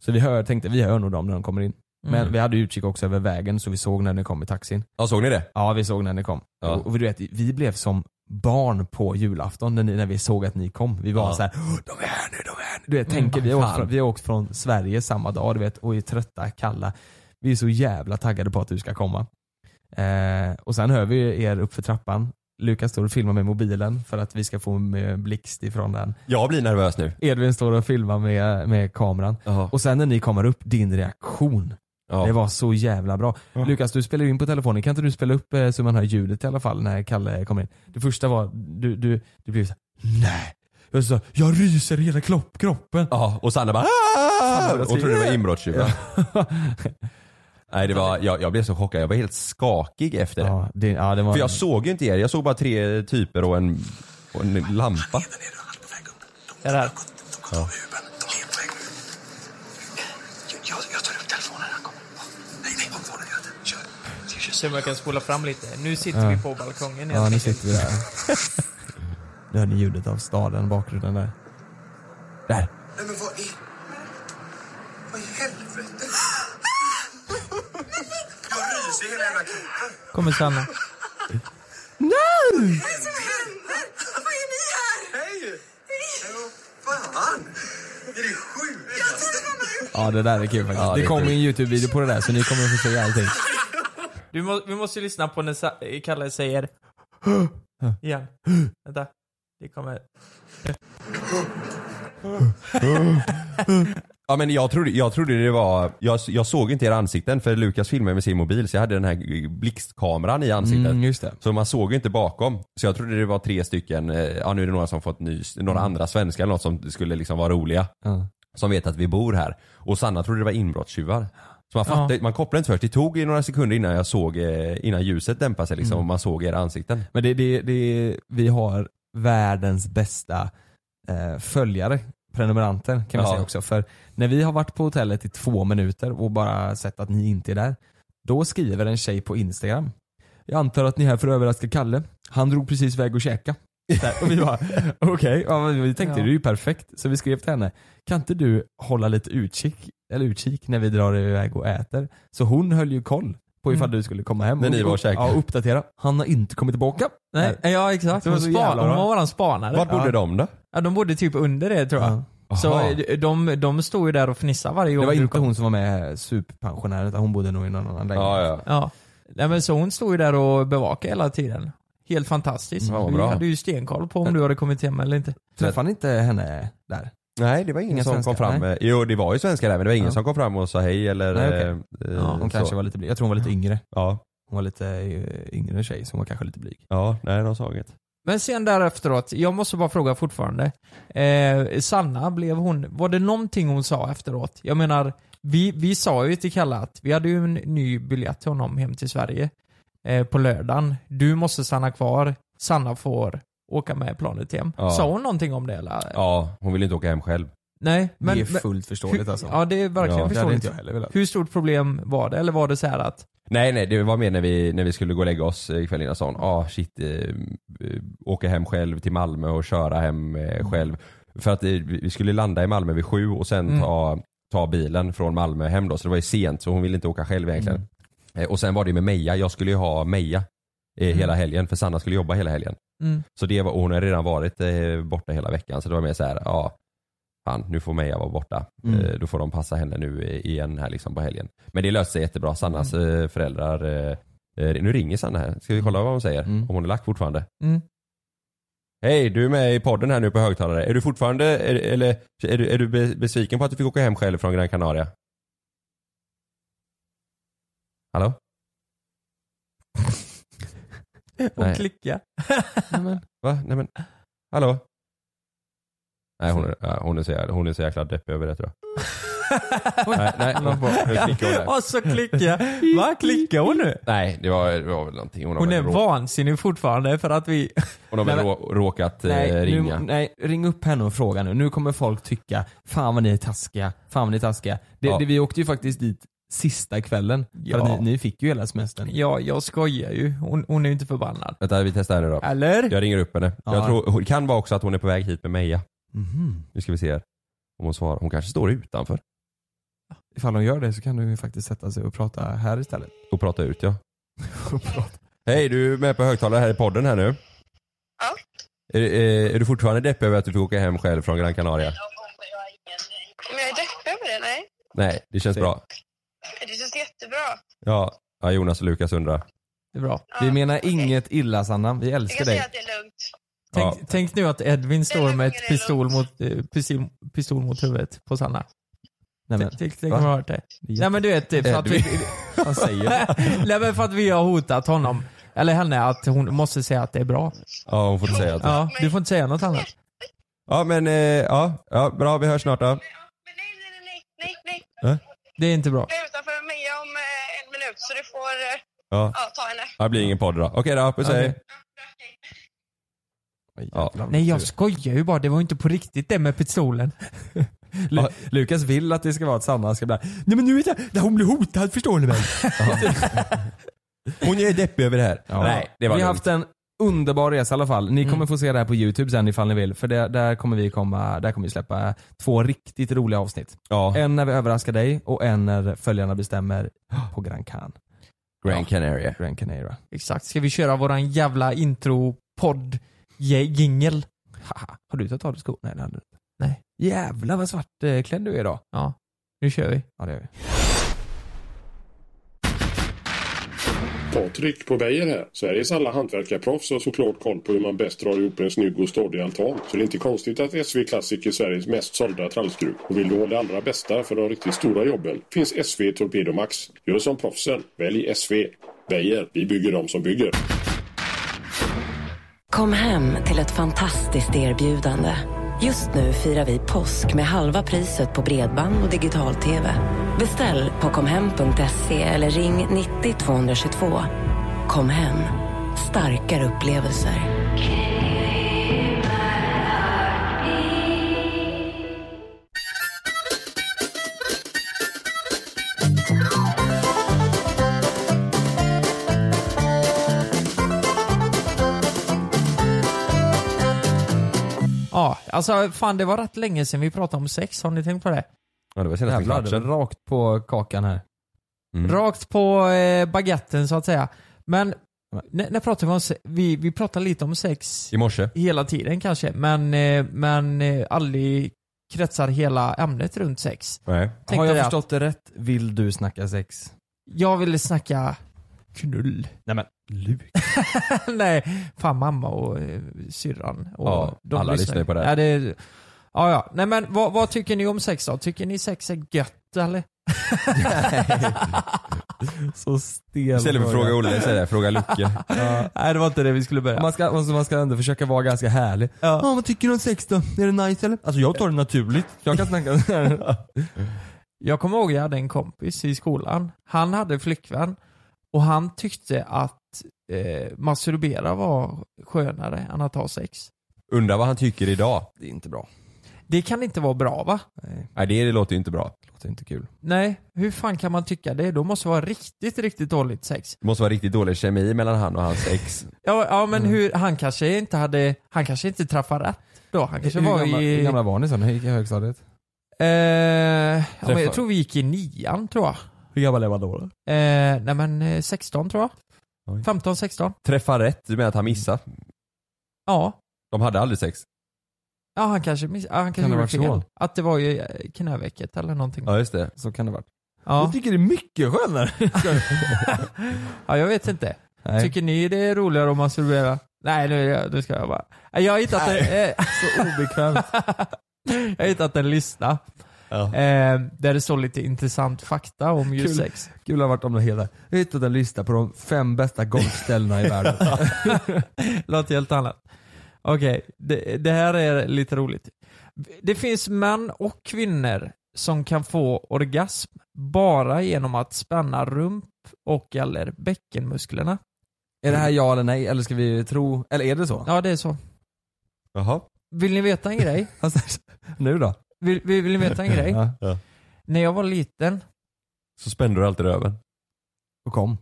[SPEAKER 4] Så vi hör, tänkte vi hör nog dem när de kommer in. Men
[SPEAKER 5] Mm.
[SPEAKER 4] vi hade utkik också över vägen så vi såg när det kom i taxin.
[SPEAKER 5] Ja såg ni det?
[SPEAKER 4] Ja, vi såg när ni kom.
[SPEAKER 5] Ja.
[SPEAKER 4] Och, och du vet, vi blev som barn på julafton när, ni, när vi såg att ni kom. Vi var
[SPEAKER 5] Ja. Mm,
[SPEAKER 4] så här, "Åh, de är här nu, de är här nu. Du vet, tänker vi, har
[SPEAKER 5] fan.
[SPEAKER 4] åkt från, vi har åkt från Sverige samma dag du vet, och är trötta, kalla. Vi är så jävla taggade på att du ska komma. Eh, och sen hör vi er upp för trappan. Lukas står och filmar med mobilen för att vi ska få med blixt ifrån den.
[SPEAKER 5] Jag blir nervös nu.
[SPEAKER 4] Edvin står och filmar med, med kameran.
[SPEAKER 5] Ja.
[SPEAKER 4] Och sen när ni kommer upp, din reaktion.
[SPEAKER 5] Ja.
[SPEAKER 4] Det var så jävla bra. Lukas, du spelar ju in på telefonen. Kan inte du spela upp eh, så man hör ljudet i alla fall när Kalle kommer in? Det första var, du, du, du blev såhär, nej. Jag sa, jag ryser i hela klopp, kroppen.
[SPEAKER 5] Ja, och Sanna bara Aah! Hon
[SPEAKER 4] vad
[SPEAKER 5] trodde det var
[SPEAKER 4] trevligt.
[SPEAKER 5] inbrottsjuvar. Nej det var, jag, jag blev så chockad, jag var helt skakig efter det.
[SPEAKER 4] Ja, det, ja, det var...
[SPEAKER 5] För jag såg ju inte er, jag såg bara tre typer och en, och en lampa.
[SPEAKER 3] Är det här?
[SPEAKER 6] Jag, jag tar upp telefonen när han kommer. Nej, nej, håll kvar den. Kör. Ska jag köra
[SPEAKER 3] se om jag kan spola fram lite. Nu sitter
[SPEAKER 4] Ja.
[SPEAKER 3] vi på balkongen helt
[SPEAKER 4] Ja, nu
[SPEAKER 3] enkelt.
[SPEAKER 4] sitter vi där. Nu hör ni ljudet av staden, bakgrunden där. Där!
[SPEAKER 6] Nej men vad i... Vad i helvete? Jag ryser i hela jävla kroppen.
[SPEAKER 3] Kommer Sanna.
[SPEAKER 4] Nej!
[SPEAKER 6] Vad är det som händer? Vad är ni här? Hej! Hej! Fan! Det är det sjukaste.
[SPEAKER 4] Ja, det där är kul faktiskt.
[SPEAKER 5] Ja,
[SPEAKER 4] det
[SPEAKER 5] det är
[SPEAKER 4] kommer
[SPEAKER 5] kul.
[SPEAKER 4] en YouTube-video på det där, så ni kommer att få se allting.
[SPEAKER 3] Du må, vi måste ju lyssna på när Sa- Kalle säger igen. Vänta. Det kommer.
[SPEAKER 5] Ja men jag trodde, jag trodde det var, jag, jag såg inte era ansikten för Lukas filmade med sin mobil så jag hade den här blixtkameran i ansiktet.
[SPEAKER 4] Mm, just det.
[SPEAKER 5] Så man såg ju inte bakom. Så jag trodde det var tre stycken, eh, ja nu är det några som fått nys, några andra svenskar eller något som skulle liksom vara roliga.
[SPEAKER 4] Ja.
[SPEAKER 5] Som vet att vi bor här. Och Sanna trodde det var inbrottstjuvar. Så man fattade, man kopplade inte först. Det tog ju några sekunder innan jag såg, eh, innan ljuset dämpade sig
[SPEAKER 4] Mm.
[SPEAKER 5] liksom och man såg era ansikten.
[SPEAKER 4] Men det, det, det, vi har världens bästa eh, följare, prenumeranter kan man
[SPEAKER 5] Ja.
[SPEAKER 4] säga också. För när vi har varit på hotellet i två minuter och bara sett att ni inte är där, då skriver en tjej på Instagram. Jag antar att ni är här för att överraska Kalle. Han drog precis iväg och käka. Så här, Och vi bara, okej, ja, men vi tänkte
[SPEAKER 3] Ja.
[SPEAKER 4] det är ju perfekt. Så vi skrev till henne, kan inte du hålla lite utkik, eller utkik när vi drar iväg och äter? Så hon höll ju koll på ifall
[SPEAKER 3] Mm.
[SPEAKER 4] du skulle komma hem.
[SPEAKER 5] När
[SPEAKER 4] och-
[SPEAKER 5] ni var och käkade.
[SPEAKER 4] Ja, uppdatera. Han har inte kommit tillbaka. Eh,
[SPEAKER 3] Nej, ja exakt.
[SPEAKER 4] Det var
[SPEAKER 3] Hon
[SPEAKER 4] så
[SPEAKER 3] span,
[SPEAKER 4] jävla
[SPEAKER 3] de
[SPEAKER 4] bra.
[SPEAKER 3] var våran spanare.
[SPEAKER 5] Vart bodde
[SPEAKER 3] ja.
[SPEAKER 5] de då?
[SPEAKER 3] Ja, de bodde typ under det tror jag.
[SPEAKER 4] Ja.
[SPEAKER 5] Aha.
[SPEAKER 3] Så de- de, de stod ju där och fnissade varje gång.
[SPEAKER 4] Det var
[SPEAKER 3] du
[SPEAKER 4] inte
[SPEAKER 3] kom.
[SPEAKER 4] hon som var med superpensionären utan hon bodde nog i någon annan lägenhet.
[SPEAKER 5] Ja, ja.
[SPEAKER 3] Ja. Nej men så hon stod ju där och bevakade hela tiden. Helt fantastiskt.
[SPEAKER 5] Ja, vad
[SPEAKER 3] vi
[SPEAKER 5] bra.
[SPEAKER 3] hade ju stenkoll på om du hade kommit hem eller inte.
[SPEAKER 4] Träffade ni inte henne där?
[SPEAKER 5] Nej det var ingen
[SPEAKER 4] Inga
[SPEAKER 5] som kom
[SPEAKER 4] svenskar,
[SPEAKER 5] fram. eh, Jo det var ju svenskar där men det var ingen
[SPEAKER 4] Ja.
[SPEAKER 5] som kom fram och sa hej eller
[SPEAKER 4] Nej, okej.
[SPEAKER 5] eh, eh,
[SPEAKER 4] Ja, hon
[SPEAKER 5] så.
[SPEAKER 4] kanske var lite blyg. Jag tror hon var lite yngre.
[SPEAKER 5] Ja,
[SPEAKER 4] Hon var lite eh, yngre tjej så hon var kanske lite blyg.
[SPEAKER 5] ja nej de sa inget.
[SPEAKER 3] Men sen där efteråt, jag måste bara fråga fortfarande. Eh, Sanna, blev hon, var det någonting hon sa efteråt? Jag menar, vi, vi sa ju till Kalle att vi hade ju en ny biljett till honom hem till Sverige eh, på lördagen. Du måste stanna kvar, Sanna får åka med planet hem.
[SPEAKER 5] Ja.
[SPEAKER 3] Sa hon någonting om det eller?
[SPEAKER 5] Ja, hon ville inte åka hem själv.
[SPEAKER 3] Nej, men...
[SPEAKER 4] det är
[SPEAKER 3] men-
[SPEAKER 4] fullt förståeligt alltså.
[SPEAKER 3] Ja, det är verkligen
[SPEAKER 5] Ja,
[SPEAKER 4] det hade
[SPEAKER 3] förståeligt.
[SPEAKER 4] inte jag heller velat.
[SPEAKER 3] Hur stort problem var det? Eller var det så här att,
[SPEAKER 5] Nej nej, det var mer när vi, när vi skulle gå och lägga oss eh, kvällen innan sa hon, ah shit, eh, eh, åka hem själv till Malmö och köra hem eh, själv. För att eh, vi vi skulle landa i Malmö vid sju och sen
[SPEAKER 3] Mm.
[SPEAKER 5] ta, ta bilen från Malmö hem då, så det var ju sent så hon ville inte åka själv egentligen. Eh, Och sen var det ju med Meja, jag skulle ju ha Meja eh,
[SPEAKER 3] Mm.
[SPEAKER 5] hela helgen för Sanna skulle jobba hela helgen.
[SPEAKER 3] mm,
[SPEAKER 5] Så det var, och hon har redan varit eh, borta hela veckan så det var mer så här, ja, fan nu får Meja vara borta.
[SPEAKER 4] Mm.
[SPEAKER 5] Eh, då får de passa henne nu eh, igen här liksom på helgen. Men det löste sig jättebra. Sannas eh, föräldrar, eh, eh, nu ringer Sanna här. Ska vi kolla vad hon säger?
[SPEAKER 4] Mm.
[SPEAKER 5] Om hon är lack fortfarande.
[SPEAKER 3] mm.
[SPEAKER 5] Hej, du är med i podden här nu på högtalare. Är du fortfarande, är, eller är du, är du be- besviken på att du fick åka hem själv från Gran Canaria? Hallå?
[SPEAKER 3] Hon
[SPEAKER 5] Nej.
[SPEAKER 3] klickar.
[SPEAKER 5] Va? Nej men, hallå? Nej hon är, ja, hon är, så, jävla, hon är så jäkla deppig över det tror jag. nej, nej, hon får- nu klickar hon där.
[SPEAKER 3] Och så klickar Va? Klickar hon nu?
[SPEAKER 5] nej det, var, det var väl någonting. Hon har,
[SPEAKER 3] Hon är
[SPEAKER 5] väl, rå,
[SPEAKER 3] vansinnig fortfarande för att vi...
[SPEAKER 5] hon har väl
[SPEAKER 4] Nej, men-
[SPEAKER 5] rå, råkat eh,
[SPEAKER 4] nu,
[SPEAKER 5] ringa.
[SPEAKER 4] nej, ring upp henne och fråga nu. Nu kommer folk tycka, fan vad ni är taskiga, fan vad ni är taskiga. Det,
[SPEAKER 5] Ja.
[SPEAKER 4] det, vi åkte ju faktiskt dit sista kvällen.
[SPEAKER 3] Ja.
[SPEAKER 4] För att ni, ni fick ju hela semestern.
[SPEAKER 3] Ja, jag skojar ju. Hon, hon är ju inte förbannad.
[SPEAKER 5] Vänta vi testar henne då.
[SPEAKER 3] Eller?
[SPEAKER 5] Jag ringer upp henne. Jag
[SPEAKER 4] Ja.
[SPEAKER 5] tror, hon kan vara också att hon är på väg hit med Meja.
[SPEAKER 4] Mhm.
[SPEAKER 5] Nu ska vi se här. Om hon svarar. Hon kanske står utanför
[SPEAKER 4] Ifall hon gör det så kan du ju faktiskt sätta sig och prata här istället.
[SPEAKER 5] och pratar ut ja. Hej du är med på högtalare här i podden här nu.
[SPEAKER 7] Ja.
[SPEAKER 5] Är, eh, är, är du fortfarande deppig över att du fick åka hem själv från Gran Canaria?
[SPEAKER 7] Men jag är deppig över det, nej.
[SPEAKER 5] Nej, det känns
[SPEAKER 4] Se.
[SPEAKER 5] bra.
[SPEAKER 7] Det känns jättebra.
[SPEAKER 5] Ja, ja Jonas och Lukas undrar.
[SPEAKER 3] Det är bra.
[SPEAKER 7] Ja,
[SPEAKER 4] Vi menar
[SPEAKER 7] okej.
[SPEAKER 4] inget illa Sanna, vi
[SPEAKER 7] Jag
[SPEAKER 4] älskar
[SPEAKER 7] kan
[SPEAKER 4] dig.
[SPEAKER 7] säga att det är lugnt.
[SPEAKER 3] Tänk,
[SPEAKER 5] Ja.
[SPEAKER 3] tänk nu att Edvin står med ett
[SPEAKER 7] Eller-
[SPEAKER 3] pistol mot, eh, pistol, pistol mot huvudet på Sanna.
[SPEAKER 4] Nej, men,
[SPEAKER 3] Tänk- Tänk tänk
[SPEAKER 5] va?
[SPEAKER 3] om jag har hört det.
[SPEAKER 4] det är
[SPEAKER 3] Nej men du vet, för att vi...
[SPEAKER 4] han säger.
[SPEAKER 3] Nej men för att vi har hotat honom. Eller henne att hon måste säga att det är bra.
[SPEAKER 5] Ja, hon får inte säga att
[SPEAKER 3] Ja, du får inte säga något annat.
[SPEAKER 5] Ja, men eh, ja, ja, bra vi hörs snart då.
[SPEAKER 7] Men, ja, men nej, nej, nej, nej, nej, nej.
[SPEAKER 3] Det är inte bra.
[SPEAKER 7] Jag är utanför Mia om eh, en minut så du får eh,
[SPEAKER 5] Ja,
[SPEAKER 7] ja, ta henne.
[SPEAKER 5] ja, det blir ingen podd då. Okej då, puss hej.
[SPEAKER 3] Okej.
[SPEAKER 5] Ja.
[SPEAKER 3] Nej jag skojar ju bara, det var ju inte på riktigt det med pistolen.
[SPEAKER 4] Lu- Lukas vill att det ska vara att Sanna ska bli Nej men nu är det, där hon blir hotad förstår ni väl?
[SPEAKER 5] Hon är deppig över det här.
[SPEAKER 4] Ja.
[SPEAKER 5] Nej, det var
[SPEAKER 4] Vi har
[SPEAKER 5] lugnt. Mm.
[SPEAKER 4] haft en underbar resa i alla fall. Ni kommer få se det här på YouTube sen ifall ni vill. För det, där kommer vi komma, där kommer vi släppa två riktigt roliga avsnitt.
[SPEAKER 5] Ja,
[SPEAKER 4] En när vi överraskar dig och en när följarna bestämmer på Gran Can.
[SPEAKER 5] Grand Canaria.
[SPEAKER 4] Gran Canaria.
[SPEAKER 3] Exakt. Ska vi köra våran jävla intro-podd jingel?
[SPEAKER 4] Haha, har du tagit av dig skor? Nej det hade du inte.
[SPEAKER 3] Nej.
[SPEAKER 4] Jävlar vad svartklädd du är idag.
[SPEAKER 3] Ja, nu kör vi.
[SPEAKER 4] Ja det gör vi.
[SPEAKER 1] Patrik på Beijer här. Sveriges alla hantverkarproffs har såklart koll på hur man bäst drar ihop en snygg och stadig altan. Så det är inte konstigt att SV Classic är Sveriges mest sålda trallskruv. Och vill du ha det allra bästa för de riktigt stora jobben finns SV Torpedo Max. Gör som proffsen. Välj SV. Beijer. Vi bygger dem som bygger.
[SPEAKER 2] Kom hem till ett fantastiskt erbjudande. Just nu firar vi påsk med halva priset på bredband och digital-tv. Beställ på komhem.se eller ring 90 222. Kom hem. Starkare upplevelser.
[SPEAKER 3] Ja, alltså fan det var rätt länge sedan vi pratade om sex. Har ni tänkt på det?
[SPEAKER 5] Ja, det var senaste
[SPEAKER 4] Jävlar, det
[SPEAKER 5] kvartsen.
[SPEAKER 4] var rakt på kakan här.
[SPEAKER 5] Mm.
[SPEAKER 3] Rakt på eh, baguetten så att säga. Men
[SPEAKER 4] Nej.
[SPEAKER 3] när, när pratar vi om se- vi, vi pratar lite om sex
[SPEAKER 5] I morse.
[SPEAKER 3] hela tiden kanske, men, eh, men eh, aldrig kretsar hela ämnet runt sex.
[SPEAKER 5] Nej.
[SPEAKER 3] Tänkte
[SPEAKER 4] har jag
[SPEAKER 3] det att-
[SPEAKER 4] förstått det rätt? Vill du snacka sex?
[SPEAKER 3] Jag ville snacka knull.
[SPEAKER 4] Nej men Luke.
[SPEAKER 3] Nej, fan mamma och eh, syrran. Och
[SPEAKER 5] Ja, alla lyssnar ju på det här.
[SPEAKER 3] Ja, det ja, ja. Nej men vad, vad tycker ni om sex då? Tycker ni sex är gött eller?
[SPEAKER 4] Så stel
[SPEAKER 5] Istället för att
[SPEAKER 4] fråga.
[SPEAKER 5] fråga Olle, säger jag, fråga Lucke.
[SPEAKER 3] Nej det var inte det vi skulle börja.
[SPEAKER 4] Man ska, alltså, man ska ändå försöka vara ganska härlig. Ja. vad tycker du om sex då? Är det nice eller? Alltså jag tar det naturligt. Jag kan snacka
[SPEAKER 3] Jag kommer ihåg jag hade en kompis i skolan. Han hade flickvän och han tyckte att eh, masturbera var skönare än att ha sex.
[SPEAKER 5] Undrar vad han tycker idag.
[SPEAKER 4] Det är inte bra.
[SPEAKER 3] Det kan inte vara bra va?
[SPEAKER 4] Nej,
[SPEAKER 5] Nej, det, det låter ju inte bra.
[SPEAKER 4] det låter inte kul.
[SPEAKER 3] Nej, hur fan kan man tycka det? Då måste det vara riktigt, riktigt dåligt sex.
[SPEAKER 5] Det måste vara riktigt dålig kemi mellan han och hans ex.
[SPEAKER 3] Ja, ja men
[SPEAKER 4] Mm.
[SPEAKER 3] hur, han kanske inte hade, han kanske inte träffade rätt då. Han kanske
[SPEAKER 4] hur,
[SPEAKER 3] var
[SPEAKER 4] gamla, hur
[SPEAKER 3] i...
[SPEAKER 4] gamla var ni sen? Hur gick i högstadiet?
[SPEAKER 3] Eh, ja, men
[SPEAKER 4] Träffar.
[SPEAKER 3] jag tror vi gick i nian tror jag.
[SPEAKER 4] Hur gammal är man då?
[SPEAKER 3] Eh, nej men eh, 16 tror
[SPEAKER 5] Oj.
[SPEAKER 3] jag. 15, 16.
[SPEAKER 5] Träffa rätt, du menar att han missar?
[SPEAKER 3] Ja.
[SPEAKER 5] De hade aldrig sex?
[SPEAKER 3] Ja han kanske miss, ja, han
[SPEAKER 4] Kan
[SPEAKER 3] kanske
[SPEAKER 4] det
[SPEAKER 3] gjorde fel.
[SPEAKER 4] varit så?
[SPEAKER 3] Att det var ju eh, knävecket eller någonting.
[SPEAKER 5] Ja, just det.
[SPEAKER 4] Så kan det varit.
[SPEAKER 3] Ja.
[SPEAKER 4] tycker det är mycket skönare.
[SPEAKER 3] ja, jag vet inte.
[SPEAKER 4] Nej.
[SPEAKER 3] Tycker ni det är roligare att masturbera? Nej, nu, nu ska jag bara... Nej, Jag har hittat, en, eh,
[SPEAKER 4] Så obekvämt.
[SPEAKER 3] jag har hittat en lista
[SPEAKER 5] Ja.
[SPEAKER 3] eh, där det står lite intressant fakta om just
[SPEAKER 4] Kul.
[SPEAKER 3] sex.
[SPEAKER 4] Kul har varit om det hela. Jag har hittat en lista på de fem bästa golfställena i världen.
[SPEAKER 3] Låt helt annat. Okej, det, det här är lite roligt. Det finns män och kvinnor som kan få orgasm bara genom att spänna rump och eller bäckenmusklerna.
[SPEAKER 4] är det här ja eller nej? Eller ska vi tro? Eller är det så?
[SPEAKER 3] Ja, det är så.
[SPEAKER 5] Jaha.
[SPEAKER 3] Vill ni veta en grej?
[SPEAKER 4] Alltså, nu då?
[SPEAKER 3] Vill, vill, vill ni veta en grej?
[SPEAKER 4] Ja.
[SPEAKER 3] När jag var liten,
[SPEAKER 5] Så spände du alltid röven.
[SPEAKER 4] Och kom.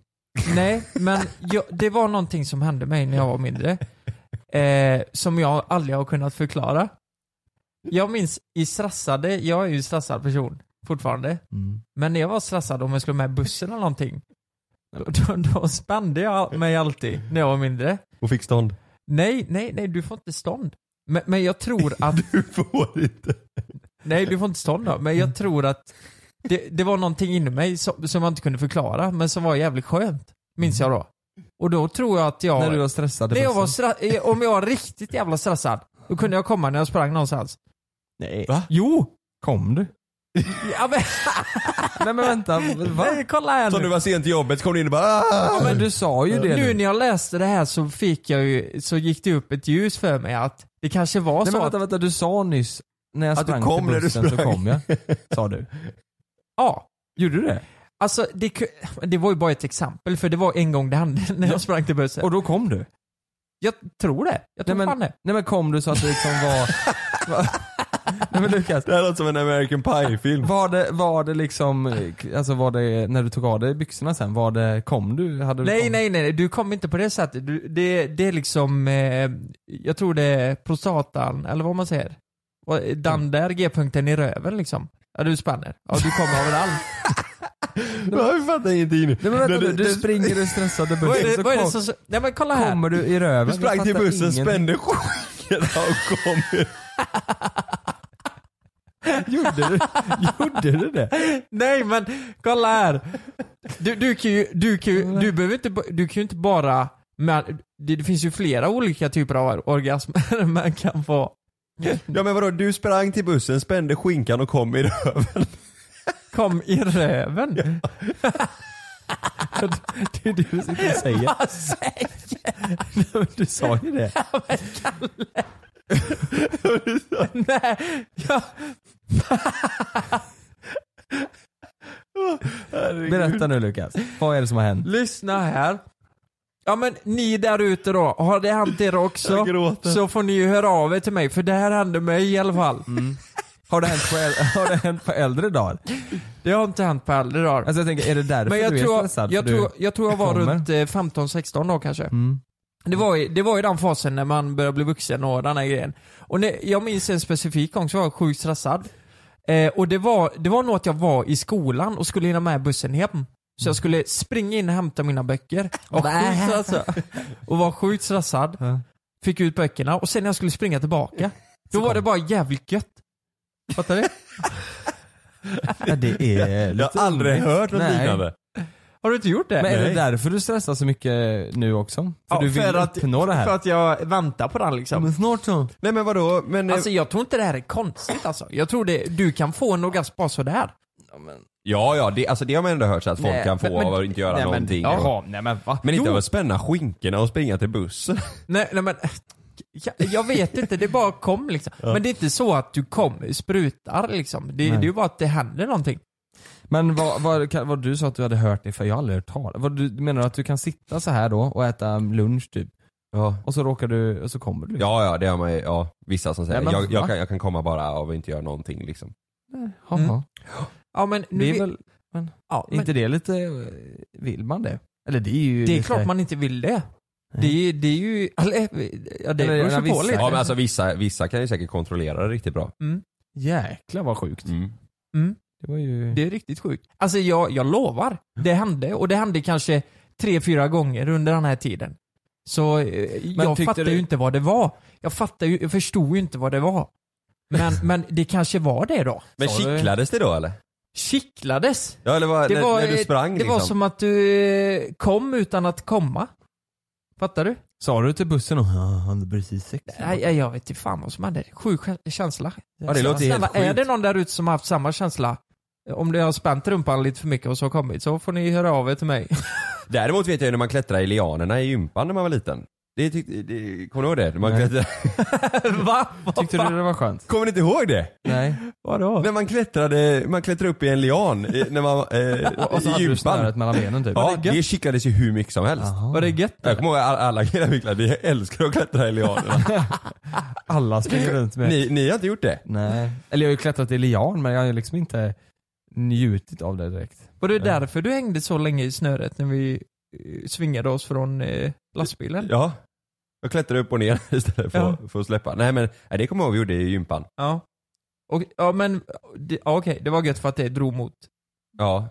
[SPEAKER 3] nej, men jag, det var någonting som hände mig när jag var mindre. Eh, som jag aldrig har kunnat förklara. Jag minns i stressade, jag är ju en stressad person fortfarande.
[SPEAKER 4] Mm.
[SPEAKER 3] Men när jag var stressad om jag skulle med bussen eller någonting, då, då, då spände jag mig alltid när jag var mindre.
[SPEAKER 5] Och fick stånd.
[SPEAKER 3] Nej, nej, nej, du får inte stånd. Men, men jag tror att...
[SPEAKER 5] Du får inte.
[SPEAKER 3] Nej, du får inte stånd då. Men jag tror att det, det var någonting inom mig som, som jag inte kunde förklara, men som var jävligt skönt. Minns jag då. Och då tror jag att jag...
[SPEAKER 4] När du var stressad. i
[SPEAKER 3] när jag var
[SPEAKER 4] bussen.
[SPEAKER 3] stra- eh, om jag var riktigt jävla stressad, då kunde jag komma när jag sprang någonstans.
[SPEAKER 4] Nej.
[SPEAKER 3] Jo!
[SPEAKER 4] Kom du?
[SPEAKER 3] Ja, men,
[SPEAKER 4] Nej men vänta, va?
[SPEAKER 3] nej, kolla här
[SPEAKER 5] Så
[SPEAKER 3] nu.
[SPEAKER 5] du var sent till jobbet så kom du in och bara "Ah!"
[SPEAKER 4] Ja, men du sa ju det
[SPEAKER 3] Nu när jag läste det här så fick jag ju, så gick det upp ett ljus för mig att det kanske var
[SPEAKER 4] Nej
[SPEAKER 3] så
[SPEAKER 4] men
[SPEAKER 3] att,
[SPEAKER 4] vänta, vänta, du sa nyss när jag
[SPEAKER 5] Att du
[SPEAKER 4] sprang
[SPEAKER 5] kom när
[SPEAKER 4] till
[SPEAKER 5] du
[SPEAKER 4] bussen så
[SPEAKER 5] sprang.
[SPEAKER 4] kom jag. Sa du.
[SPEAKER 3] ja.
[SPEAKER 4] Gjorde du det?
[SPEAKER 3] Alltså det, ku- det var ju bara ett exempel för det var en gång det hände när jag sprang till bussen.
[SPEAKER 4] Och då kom du?
[SPEAKER 3] Jag tror det. Jag tror
[SPEAKER 4] Nej
[SPEAKER 3] fan
[SPEAKER 4] men,
[SPEAKER 3] det.
[SPEAKER 4] nej men kom du så att det liksom var... Va? Nej, men Lukas,
[SPEAKER 5] Det här låter som en American Pie-film.
[SPEAKER 4] var det, var det liksom, eh, alltså var det, när du tog av dig byxorna sen, var det, kom du? Hade du
[SPEAKER 3] Nej,
[SPEAKER 4] kom?
[SPEAKER 3] nej, nej, du kom inte på det sättet. Du, det, det är liksom, eh, jag tror det är prostatan, eller vad man säger. Och Den där g-punkten i röven liksom. Ja, du spänner. Ja, du kommer överallt.
[SPEAKER 5] Jag fattar ingenting nu.
[SPEAKER 4] Nej, men vänta
[SPEAKER 5] Det-
[SPEAKER 4] nu,
[SPEAKER 5] det-
[SPEAKER 4] du springer ur stressade bussen
[SPEAKER 3] vad är det,
[SPEAKER 4] så
[SPEAKER 3] vad är det
[SPEAKER 4] kom-
[SPEAKER 3] som... Nej men kolla här.
[SPEAKER 4] kommer du i röven.
[SPEAKER 5] Du sprang
[SPEAKER 4] Jag
[SPEAKER 5] till
[SPEAKER 4] fattar
[SPEAKER 5] bussen,
[SPEAKER 4] ingenting.
[SPEAKER 5] spände skinkorna och kom ut.
[SPEAKER 4] Gjorde du, gjorde du det?
[SPEAKER 3] Nej men kolla här. Du, du kan ju, du kan ju, du behöver inte, ba- du kan ju inte bara, men det, det finns ju flera olika typer av orgasmer man kan få.
[SPEAKER 5] Ja men vadå, du sprang till bussen, spände skinkan och kom i röven.
[SPEAKER 3] Kom i röven.
[SPEAKER 4] Det är det du sitter och säger.
[SPEAKER 3] Vad säger
[SPEAKER 4] Men Du sa ju det.
[SPEAKER 3] Nej, jag,
[SPEAKER 4] Berätta nu Lukas. Vad är det som har hänt?
[SPEAKER 3] lyssna här. Ja men ni där ute då, har det hänt er också?
[SPEAKER 5] Jag gråter.
[SPEAKER 3] Så får ni ju höra av er till mig, för det här hände mig i alla fall.
[SPEAKER 5] Mm.
[SPEAKER 4] Har det hänt på, äl- har det hänt på äldre dagar?
[SPEAKER 3] Det har inte hänt på äldre dagar.
[SPEAKER 4] Alltså jag tänker, är det därför
[SPEAKER 3] Men jag
[SPEAKER 4] du är
[SPEAKER 3] tror,
[SPEAKER 4] stressad?
[SPEAKER 3] jag,
[SPEAKER 4] För du-
[SPEAKER 3] tror, jag tror jag var
[SPEAKER 4] kommer.
[SPEAKER 3] runt eh, 15-16 då kanske.
[SPEAKER 4] Mm.
[SPEAKER 3] Det, var ju, det var ju den fasen när man började bli vuxen och den här grejen. Och när, jag minns en specifik gång så var jag sjukt stressad. Eh, och det var, det var nog att jag var i skolan och skulle hinna med bussen hem. Så
[SPEAKER 4] Mm.
[SPEAKER 3] jag skulle springa in och hämta mina böcker. Och var sjukt stressad. Och var sjukt stressad.
[SPEAKER 4] Ja.
[SPEAKER 3] Fick ut böckerna och sen när jag skulle springa tillbaka, då var det bara jävligt gött. Fattar du?
[SPEAKER 4] Ja, det är
[SPEAKER 5] Jag har aldrig hört något
[SPEAKER 4] Nej.
[SPEAKER 5] liknande.
[SPEAKER 3] Har du inte gjort det?
[SPEAKER 4] Men är det
[SPEAKER 5] Nej.
[SPEAKER 4] därför du stressar så mycket nu också? För
[SPEAKER 3] Ja,
[SPEAKER 4] du vill
[SPEAKER 3] för att-
[SPEAKER 4] uppnå det här?
[SPEAKER 3] För att jag väntar på den liksom.
[SPEAKER 4] snart så.
[SPEAKER 5] Nej men vadå, men... eh,
[SPEAKER 3] Alltså jag tror inte det här är konstigt alltså. Jag tror det, du kan få en orgasm bara sådär.
[SPEAKER 5] Ja ja, det, alltså, det har man ändå hört så att folk
[SPEAKER 3] Nej,
[SPEAKER 5] kan få
[SPEAKER 3] men- men-
[SPEAKER 5] av att inte göra
[SPEAKER 3] nej, men-
[SPEAKER 5] någonting.
[SPEAKER 3] ja.
[SPEAKER 5] och,
[SPEAKER 4] Jaha, nej men va?
[SPEAKER 5] men inte
[SPEAKER 3] jo.
[SPEAKER 5] av att spänna skinkorna och springa till bussen.
[SPEAKER 3] Nej, nej men, jag, jag vet inte, det bara kom liksom. Men det är inte så att du kommer sprutar liksom. Det, det
[SPEAKER 4] Nej.
[SPEAKER 3] är ju bara att det händer någonting.
[SPEAKER 4] Men vad, vad, kan- vad du sa att du hade hört det för, jag har aldrig hört talas vad du Menar du att du kan sitta så här då och äta um, lunch typ?
[SPEAKER 5] Ja.
[SPEAKER 4] Och så råkar du, och så kommer du?
[SPEAKER 5] Ja, ja, det har man ju, ja, vissa som säger
[SPEAKER 4] Nej, men
[SPEAKER 5] jag,
[SPEAKER 4] va?
[SPEAKER 5] jag, kan, jag kan komma bara av att inte göra någonting liksom.
[SPEAKER 4] Jaha.
[SPEAKER 3] Mm. Ja men nu...
[SPEAKER 4] Det
[SPEAKER 3] vi-
[SPEAKER 4] är väl,
[SPEAKER 3] ja,
[SPEAKER 4] är
[SPEAKER 3] men,
[SPEAKER 4] inte det lite, eh, vill man det? Eller det är ju
[SPEAKER 3] det är
[SPEAKER 4] lite-
[SPEAKER 3] klart man inte vill det. Det, är- det är ju... Eller, ja, det
[SPEAKER 4] Eller,
[SPEAKER 3] beror
[SPEAKER 4] ja,
[SPEAKER 3] ju på
[SPEAKER 4] vissa.
[SPEAKER 3] lite.
[SPEAKER 5] Ja men alltså vissa, vissa kan ju säkert kontrollera det riktigt bra.
[SPEAKER 4] Jäklar vad sjukt.
[SPEAKER 5] Mm.
[SPEAKER 4] Det var ju...
[SPEAKER 3] Det är riktigt sjukt. Alltså jag, jag lovar, det hände. Och det hände kanske tre, fyra gånger under den här tiden. Så eh,
[SPEAKER 4] Men
[SPEAKER 3] jag
[SPEAKER 4] tyckte
[SPEAKER 3] fattar
[SPEAKER 4] du-
[SPEAKER 3] ju inte vad det var. Jag fattar ju, jag förstod ju inte vad det var. Men, men det kanske var det då.
[SPEAKER 5] Men
[SPEAKER 4] Sa du-
[SPEAKER 5] kittlades det då eller?
[SPEAKER 3] Kittlades.
[SPEAKER 5] Ja eller vad,
[SPEAKER 3] Det,
[SPEAKER 5] när,
[SPEAKER 3] var,
[SPEAKER 5] när du
[SPEAKER 3] eh,
[SPEAKER 5] sprang
[SPEAKER 3] det
[SPEAKER 5] liksom?
[SPEAKER 3] var som att du eh, kom utan att komma. Fattar du?
[SPEAKER 4] Sa du till bussen och er "Ja, han hade precis sex?
[SPEAKER 3] Nej, jag, jag vet inte fan vad som hände. Sjuk kä- känsla.
[SPEAKER 5] Ja, det låter helt
[SPEAKER 3] Snälla, är
[SPEAKER 5] sjukt.
[SPEAKER 3] det någon där ute som har haft samma känsla? Om det har spänt rumpan lite för mycket och så kommit så får ni höra av er till mig.
[SPEAKER 5] Däremot vet jag ju när man klättrade i lianerna i gympan när man var liten. Det tyckte, det, kommer du ihåg det? När Man
[SPEAKER 4] Nej.
[SPEAKER 5] klättrade,
[SPEAKER 3] Va?
[SPEAKER 4] Tyckte du det var skönt?
[SPEAKER 5] kommer ni inte ihåg det?
[SPEAKER 4] Nej.
[SPEAKER 3] Vadå?
[SPEAKER 5] När man klättrade, man klättrade upp i en lian i, när man,
[SPEAKER 4] Och
[SPEAKER 5] eh,
[SPEAKER 4] så
[SPEAKER 5] i
[SPEAKER 4] hade du snöret
[SPEAKER 5] gympan.
[SPEAKER 4] mellan benen typ?
[SPEAKER 5] Ja, det kittlades ju hur mycket som helst.
[SPEAKER 4] Jaha.
[SPEAKER 3] Var det gött?
[SPEAKER 5] Jag kommer ihåg alla, alla killar vi klättrade, vi älskar att klättra i lianerna.
[SPEAKER 4] Alla springer runt med...
[SPEAKER 5] ni, ni har inte gjort det?
[SPEAKER 4] Nej. Eller jag har ju klättrat i lian men jag har ju liksom inte njutit av det direkt.
[SPEAKER 3] Var det därför du hängde så länge i snöret när vi eh, svingade oss från eh, lastbilen?
[SPEAKER 5] Ja. Jag klättrade upp och ner istället för,
[SPEAKER 3] Ja.
[SPEAKER 5] att- för att släppa. Nej men nej, det kommer jag ihåg vi gjorde i gympan.
[SPEAKER 3] Ja. Och, ja men, det, ja, okej, det var gött för att det drog mot.
[SPEAKER 5] Ja.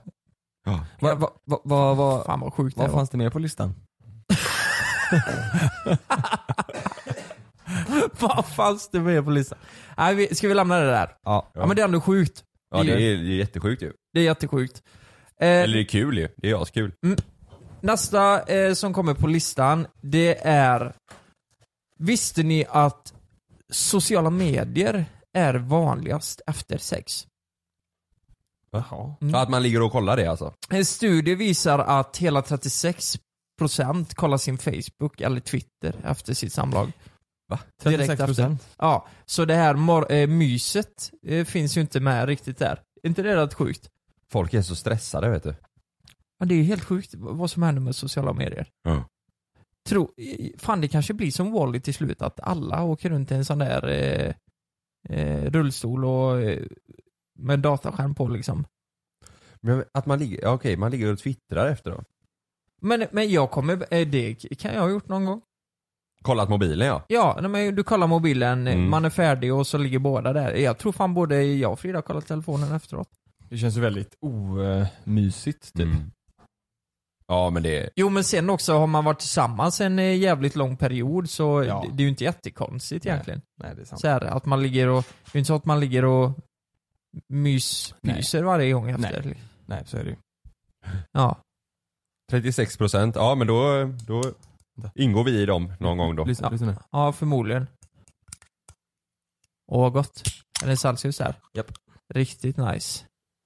[SPEAKER 4] Va, va, va, va, va,
[SPEAKER 3] Fan vad sjukt det
[SPEAKER 4] vad
[SPEAKER 3] var.
[SPEAKER 4] fanns det mer på listan?
[SPEAKER 3] Vad fanns det med på listan? Nej, vi, ska vi lämna det där?
[SPEAKER 4] Ja.
[SPEAKER 3] Ja men det är ändå sjukt.
[SPEAKER 5] Ja det är, det är jättesjukt ju.
[SPEAKER 3] Det är jättesjukt. Eh,
[SPEAKER 5] Eller det är kul ju. Det är askul.
[SPEAKER 3] Nästa eh, som kommer på listan, det är Visste ni att sociala medier är vanligast efter sex?
[SPEAKER 4] Jaha.
[SPEAKER 3] Mm.
[SPEAKER 5] Ja, Att man ligger och kollar det alltså.
[SPEAKER 3] En studie visar att hela 36% kollar sin Facebook eller Twitter efter sitt samlag.
[SPEAKER 5] Va?
[SPEAKER 3] Direkt
[SPEAKER 4] 36
[SPEAKER 3] efter.
[SPEAKER 4] procent.
[SPEAKER 3] Ja, så det här mor- eh, myset eh, finns ju inte med riktigt där. Är inte det rätt sjukt?
[SPEAKER 5] Folk är så stressade vet du.
[SPEAKER 3] Ja, det är ju helt sjukt v- vad som händer med sociala medier.
[SPEAKER 5] Ja.
[SPEAKER 3] Tro, i- fan det kanske blir som Wally till slut, att alla åker runt i en sån där eh, eh, rullstol och eh, med dataskärm på liksom.
[SPEAKER 5] Men att man ligger, ja, okej man ligger och twittrar efteråt.
[SPEAKER 3] Men, men jag kommer, eh, det kan jag ha gjort någon gång.
[SPEAKER 5] Kollat mobilen ja.
[SPEAKER 3] Ja, nej, men du kollar mobilen, eh,
[SPEAKER 5] Mm.
[SPEAKER 3] man är färdig och så ligger båda där. Jag tror fan både jag och Frida har kollat telefonen efteråt.
[SPEAKER 4] Det känns ju väldigt omysigt typ.
[SPEAKER 5] Mm. Ja men det,
[SPEAKER 3] Jo men sen också har man varit tillsammans en eh, jävligt lång period så
[SPEAKER 4] Ja.
[SPEAKER 3] det, det är ju inte jättekonstigt
[SPEAKER 4] Nej.
[SPEAKER 3] egentligen.
[SPEAKER 4] Nej det är sant.
[SPEAKER 3] Så här, att man ligger och, det är inte så att man ligger och mys,
[SPEAKER 4] Nej.
[SPEAKER 3] myser varje gång efter.
[SPEAKER 4] Nej så är det ju.
[SPEAKER 3] Ja.
[SPEAKER 5] 36 procent, ja men då, då ingår vi i dem någon gång då.
[SPEAKER 4] Lyssna,
[SPEAKER 3] Ja.
[SPEAKER 4] lyssna nu.
[SPEAKER 3] ja, förmodligen. Åh vad gott. Är det salsius där?
[SPEAKER 4] Japp.
[SPEAKER 3] Riktigt nice.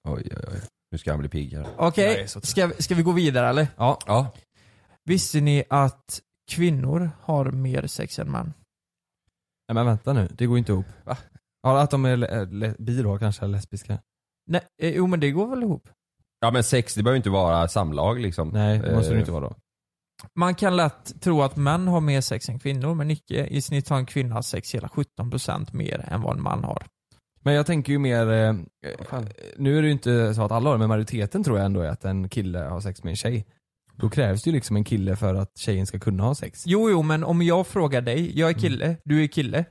[SPEAKER 5] Oj, oj, oj. Nu ska han bli pigg här.
[SPEAKER 3] Okej,
[SPEAKER 4] Jag är så trött.
[SPEAKER 3] ska, vi- ska vi gå vidare eller?
[SPEAKER 5] Ja. ja.
[SPEAKER 3] Visste ni att kvinnor har mer sex än män?
[SPEAKER 4] Nej men vänta nu, det går ju inte ihop. Va? Ja att de är le- eh, le- bi då kanske, eller lesbiska.
[SPEAKER 3] Nej, eh, jo men det går väl ihop?
[SPEAKER 5] Ja men sex, det behöver ju inte vara samlag liksom.
[SPEAKER 4] Nej det måste
[SPEAKER 5] Eh,
[SPEAKER 4] det inte vara då.
[SPEAKER 3] Man kan lätt tro att män har mer sex än kvinnor, men icke. I snitt har en kvinna sex hela 17% mer än vad en man har.
[SPEAKER 4] Men jag tänker ju mer, eh, nu är det ju inte så att alla har det, men majoriteten tror jag ändå är att en kille har sex med en tjej. Då krävs det ju liksom en kille för att tjejen ska kunna ha sex.
[SPEAKER 3] Jo, jo, men om jag frågar dig,
[SPEAKER 4] Mm.
[SPEAKER 3] jag är kille, du är kille.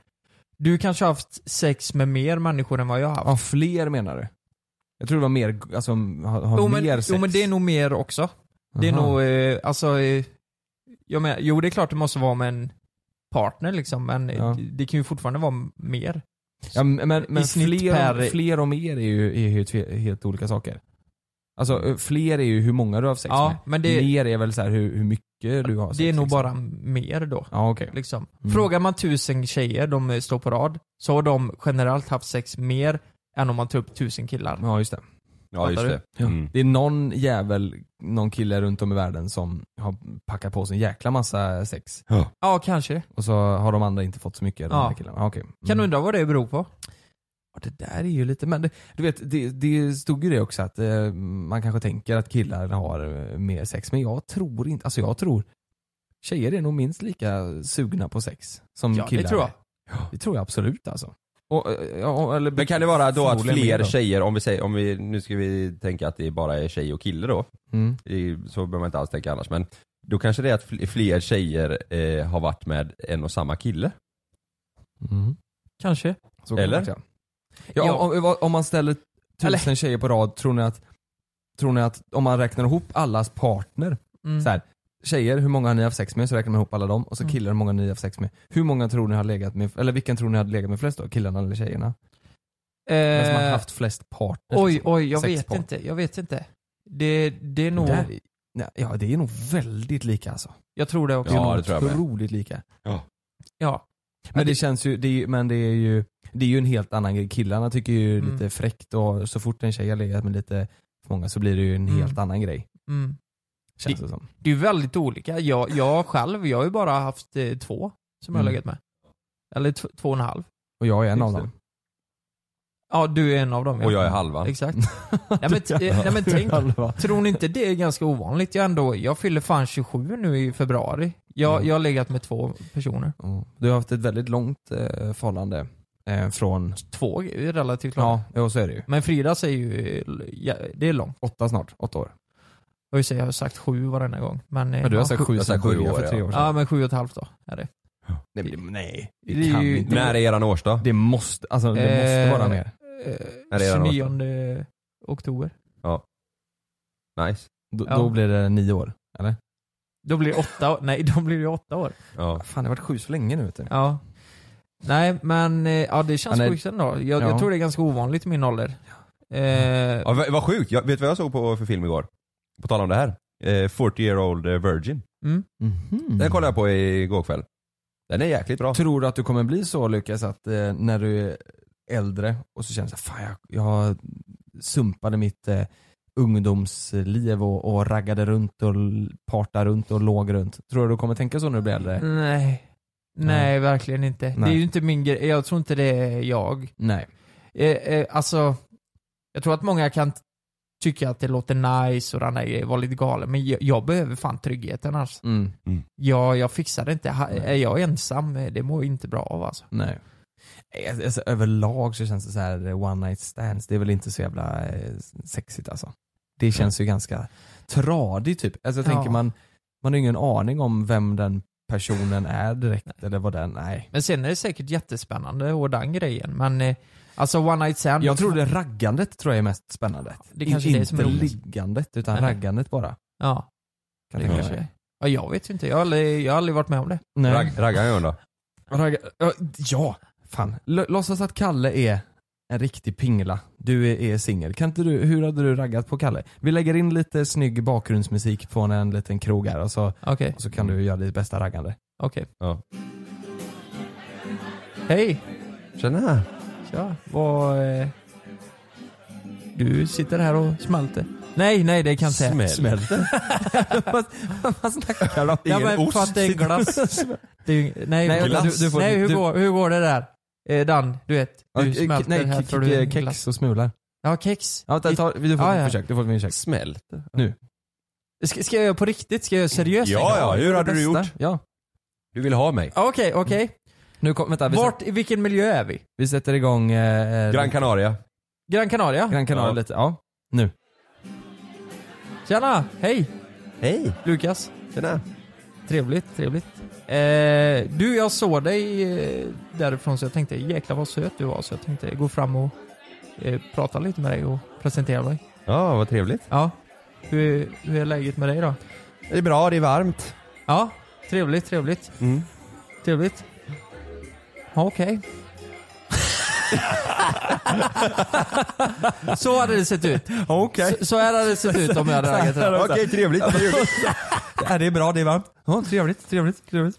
[SPEAKER 3] Du kanske har haft sex med mer människor än vad jag har haft.
[SPEAKER 4] Ja, fler menar du? Jag tror det var mer, alltså ha, ha
[SPEAKER 3] jo,
[SPEAKER 4] mer
[SPEAKER 3] men,
[SPEAKER 4] sex.
[SPEAKER 3] jo, men det är nog mer också. Det är
[SPEAKER 4] Aha.
[SPEAKER 3] nog, eh, alltså, eh, jag menar, jo det är klart det måste vara med en partner liksom, men eh,
[SPEAKER 4] Ja.
[SPEAKER 3] det, det kan ju fortfarande vara m- mer.
[SPEAKER 4] Ja, men men, men
[SPEAKER 3] snitt
[SPEAKER 4] fler,
[SPEAKER 3] per-
[SPEAKER 4] fler och mer är ju, är ju tve, helt olika saker. Alltså eh, fler är ju hur många du har haft sex
[SPEAKER 3] Ja,
[SPEAKER 4] med.
[SPEAKER 3] men det-
[SPEAKER 4] Mer är väl så här hur, hur mycket du har sex
[SPEAKER 3] det är nog
[SPEAKER 4] liksom.
[SPEAKER 3] bara mer då.
[SPEAKER 4] Ja okej.
[SPEAKER 3] Liksom.
[SPEAKER 4] Mm.
[SPEAKER 3] Frågar man tusen tjejer, de eh, står på rad, så har de generellt haft sex mer än om man tar upp tusen killar.
[SPEAKER 4] Ja just det.
[SPEAKER 5] Eh, Ja just
[SPEAKER 3] Fattar
[SPEAKER 5] det.
[SPEAKER 4] Ja.
[SPEAKER 5] Mm.
[SPEAKER 4] Det är någon jävel, någon kille runt om i världen som har packat på sig en jäkla massa sex.
[SPEAKER 3] Ja, kanske.
[SPEAKER 4] Och så har de andra inte fått så mycket. De
[SPEAKER 3] Ja.
[SPEAKER 4] här killarna. Ja, okej. Mm.
[SPEAKER 3] Kan undra vad det beror på.
[SPEAKER 4] Ja, Det där är ju lite, men det, du vet, det, det stod ju det också att eh, man kanske tänker att killar har eh, mer sex, men jag tror inte, alltså jag tror tjejer är nog minst lika sugna på sex som
[SPEAKER 3] Ja,
[SPEAKER 4] killar.
[SPEAKER 3] det tror jag.
[SPEAKER 4] jag. Det tror jag absolut alltså. Och, eh, ja, och, eller,
[SPEAKER 5] Men kan det vara då att
[SPEAKER 4] förmodligen mer
[SPEAKER 5] fler
[SPEAKER 4] då.
[SPEAKER 5] tjejer, om vi säger, om vi, nu ska vi tänka att det bara är tjej och kille då.
[SPEAKER 4] Mm.
[SPEAKER 5] I- Så behöver man inte alls tänka annars men då kanske det är att fl- fler tjejer eh, har varit med en och samma kille.
[SPEAKER 4] Mm.
[SPEAKER 3] Kanske.
[SPEAKER 4] Så kan
[SPEAKER 5] Eller?
[SPEAKER 4] det vara, Ja,
[SPEAKER 3] Ja.
[SPEAKER 4] ja. Om, om- om man ställer tusen
[SPEAKER 3] Eller-
[SPEAKER 4] tjejer på rad, tror ni, att, tror ni att om man räknar ihop allas partner,
[SPEAKER 3] Mm.
[SPEAKER 4] så här, tjejer, hur många har ni haft sex med? Så räknar man ihop alla dem och så
[SPEAKER 3] Mm.
[SPEAKER 4] killar, hur många har ni haft sex med? Hur många tror ni har legat med, eller vilken tror ni har legat med flest då? Killarna eller tjejerna? Vem som har
[SPEAKER 3] Eh,
[SPEAKER 4] haft flest partners?
[SPEAKER 3] oj,
[SPEAKER 4] liksom.
[SPEAKER 3] oj, jag
[SPEAKER 4] Sex
[SPEAKER 3] vet
[SPEAKER 4] par.
[SPEAKER 3] inte. Jag vet inte. Det, det är nog...
[SPEAKER 4] Där, nej, ja, det är nog väldigt lika alltså.
[SPEAKER 3] Jag tror det också.
[SPEAKER 5] Ja,
[SPEAKER 4] är nog
[SPEAKER 5] det tror jag med.
[SPEAKER 4] Otroligt lika.
[SPEAKER 3] Ja.
[SPEAKER 4] Men det känns ju, det är, ju- men det är ju, det är ju en helt annan grej. Killarna tycker ju
[SPEAKER 3] Mm.
[SPEAKER 4] lite fräckt och så fort en tjej har legat med lite för många så blir det ju en
[SPEAKER 3] Mm.
[SPEAKER 4] helt annan grej.
[SPEAKER 3] Mm.
[SPEAKER 4] Känns det som.
[SPEAKER 3] Det är ju väldigt olika. Jag, jag själv, jag har ju bara haft eh, två som jag har
[SPEAKER 4] Mm.
[SPEAKER 3] legat med. Eller t- två och en halv.
[SPEAKER 4] Och jag är en
[SPEAKER 5] Just
[SPEAKER 4] av
[SPEAKER 5] det.
[SPEAKER 4] dem.
[SPEAKER 3] Ja, du är en av dem. ja.
[SPEAKER 5] Och jag är halva.
[SPEAKER 3] Exakt. nej, men, t- eh, nej, men tänk,
[SPEAKER 4] er
[SPEAKER 3] tror ni inte det är ganska ovanligt? Jag, ändå, jag fyller fan 27 nu i februari. Jag,
[SPEAKER 4] Mm.
[SPEAKER 3] jag har legat med två personer.
[SPEAKER 4] Ja. Du har haft ett väldigt långt eh, förhållande eh, från,
[SPEAKER 3] Två är ju relativt långt.
[SPEAKER 4] ja, jo, så är det ju.
[SPEAKER 3] Men Frida säger ju, eh, l- ja, det är långt.
[SPEAKER 4] Åtta snart, åtta år.
[SPEAKER 3] Jag vill säga, jag har sagt sju varenda gång. Men, eh,
[SPEAKER 4] Men du har
[SPEAKER 3] ja,
[SPEAKER 4] sagt sju
[SPEAKER 5] jag sa
[SPEAKER 4] sen
[SPEAKER 5] sju
[SPEAKER 4] sju
[SPEAKER 5] år,
[SPEAKER 4] för tre
[SPEAKER 5] ja.
[SPEAKER 4] år sedan.
[SPEAKER 3] Ja men sju och ett halvt då är det.
[SPEAKER 4] nej, men det, nej, det,
[SPEAKER 3] Det är
[SPEAKER 4] kan
[SPEAKER 3] ju-
[SPEAKER 4] inte.
[SPEAKER 5] När är eran årsdag?
[SPEAKER 4] Det måste, alltså det
[SPEAKER 3] Eh,
[SPEAKER 4] måste vara mer.
[SPEAKER 5] Ja,
[SPEAKER 3] Eh,
[SPEAKER 5] det är det.
[SPEAKER 3] 29 oktober.
[SPEAKER 5] Nice.
[SPEAKER 4] Då,
[SPEAKER 3] ja.
[SPEAKER 4] då blir det nio år, eller?
[SPEAKER 3] Då blir det åtta år. Nej, då blir det åtta år.
[SPEAKER 5] Ja.
[SPEAKER 4] Fan det har varit sju så länge nu vet du.
[SPEAKER 3] Ja. Nej men, eh, ja det känns
[SPEAKER 4] Ja, nej.
[SPEAKER 3] sjukt ändå. Jag,
[SPEAKER 4] Ja. Mm.
[SPEAKER 3] jag tror det är ganska ovanligt i min ålder. Eh,
[SPEAKER 5] Ja, vad vad sjukt, jag, vet du vad jag såg på för film igår? På tal om det här. Eh, 40 year old virgin.
[SPEAKER 3] mm.
[SPEAKER 4] Mhm.
[SPEAKER 5] Den kollade jag på igår kväll. Den är jäkligt bra.
[SPEAKER 4] Tror du att du kommer bli så Lukas att eh, när du är äldre och så känner du så här, fan jag, jag sumpade mitt eh, ungdomsliv och, och raggade runt och l- partade runt och låg runt. Tror du du kommer tänka så när du blir
[SPEAKER 3] Mm.
[SPEAKER 4] äldre?
[SPEAKER 3] nej. Nej, verkligen inte. Det
[SPEAKER 4] Nej.
[SPEAKER 3] är ju inte min grej. Jag tror inte det är jag.
[SPEAKER 4] Nej.
[SPEAKER 3] Eh, eh, alltså, jag tror att många kan t- tycka att det låter nice och den här grejen, vara lite galen. Men jag, jag behöver fan tryggheten alltså.
[SPEAKER 4] Mm.
[SPEAKER 3] Ja, jag fixar det inte. Ha,
[SPEAKER 4] Nej.
[SPEAKER 3] är jag ensam, eh, det mår jag inte bra av alltså.
[SPEAKER 4] Nej. Nej, Alltså, överlag så känns det så här eh, one night stands, det är väl inte så jävla eh, sexigt alltså. Det känns ju ganska tradigt typ. Alltså jag
[SPEAKER 3] Ja.
[SPEAKER 4] tänker man, man har ingen aning om vem den personen är direkt eller vad den, nej.
[SPEAKER 3] Men sen är det säkert jättespännande och den grejen. Men eh, alltså One Night Stand.
[SPEAKER 4] Jag tror det raggandet tror jag är mest spännande.
[SPEAKER 3] Det kanske är
[SPEAKER 4] inte
[SPEAKER 3] det som är roligt.
[SPEAKER 4] liggandet utan
[SPEAKER 3] Nej.
[SPEAKER 4] raggandet bara.
[SPEAKER 3] Ja,
[SPEAKER 4] Kan
[SPEAKER 3] det
[SPEAKER 4] jag tänka
[SPEAKER 3] kanske
[SPEAKER 4] mig.
[SPEAKER 3] är. Ja, jag vet ju inte. Jag har aldrig, jag har aldrig varit med om det.
[SPEAKER 4] Nej.
[SPEAKER 5] Rag, raggar jag då?
[SPEAKER 4] Ragga, ja, ja, fan. L- låtsas att Kalle är en riktig pingla. Du är, är singel. Kan inte du, hur hade du raggat på Kalle? Vi lägger in lite snygg bakgrundsmusik från en liten krog här och så,
[SPEAKER 3] Okej,
[SPEAKER 4] och så
[SPEAKER 3] Mm.
[SPEAKER 4] kan du göra ditt bästa raggande.
[SPEAKER 3] okej.
[SPEAKER 5] Ja.
[SPEAKER 3] Hej!
[SPEAKER 5] Tjena!
[SPEAKER 3] Tja, vad... Eh, du sitter här och smälter. Nej, nej det kan jag inte säga.
[SPEAKER 5] Smälter?
[SPEAKER 4] vad, vad snackar de?
[SPEAKER 3] Ja, men för att det är en glass. Det är ju, nej,
[SPEAKER 4] Nej,
[SPEAKER 3] nej,
[SPEAKER 4] glass.
[SPEAKER 3] Du, du får, nej hur,
[SPEAKER 4] du-
[SPEAKER 3] går, hur går det där? Eh, Dan, du vet. Du
[SPEAKER 4] Ja, k-
[SPEAKER 3] smälter
[SPEAKER 4] nej,
[SPEAKER 3] här
[SPEAKER 4] k-
[SPEAKER 3] får du en
[SPEAKER 4] kex
[SPEAKER 3] glass.
[SPEAKER 4] och smular.
[SPEAKER 3] Ja, kex.
[SPEAKER 4] Ja, ta, ta, du får
[SPEAKER 3] Ja,
[SPEAKER 4] ett
[SPEAKER 3] ja.
[SPEAKER 4] försök. Du får ett försök.
[SPEAKER 5] Smälter?
[SPEAKER 3] Ska, ska jag göra på riktigt? Ska jag göra seriöst? en
[SPEAKER 5] Ja,
[SPEAKER 3] gång?
[SPEAKER 5] ja, hur hade du
[SPEAKER 4] Bästa.
[SPEAKER 5] gjort?
[SPEAKER 4] Ja.
[SPEAKER 5] Du vill ha mig?
[SPEAKER 3] Ja, Okej, okej.
[SPEAKER 4] Nu kom, vänta, vi, sätter,
[SPEAKER 3] Vart, i vilken miljö är vi?
[SPEAKER 4] vi sätter igång eh, eh,
[SPEAKER 5] Gran Canaria?
[SPEAKER 3] Gran Canaria?
[SPEAKER 4] Gran Canaria
[SPEAKER 5] Ja.
[SPEAKER 4] lite. Ja, nu.
[SPEAKER 3] Tjena! Hej!
[SPEAKER 5] Hej!
[SPEAKER 3] Lukas.
[SPEAKER 5] Tjena!
[SPEAKER 3] Trevligt, trevligt. Eh, du, jag såg dig eh, därifrån så jag tänkte jäklar vad söt du var så jag tänkte gå fram och eh, prata lite med dig och presentera dig.
[SPEAKER 5] Ja, vad trevligt.
[SPEAKER 3] Ja. Hur, är- hur är läget med dig då?
[SPEAKER 5] Det är bra, det är varmt.
[SPEAKER 3] Ja, trevligt, trevligt.
[SPEAKER 5] Mm.
[SPEAKER 3] Trevligt. Ja, Okej. så hade det sett ut.
[SPEAKER 4] Okej.
[SPEAKER 3] Så, så här hade det sett ut om jag hade raggat det.
[SPEAKER 5] Okej, trevligt. trevligt.
[SPEAKER 4] Ja, Äh, det är bra, det är varmt. Ja, trevligt, trevligt, trevligt.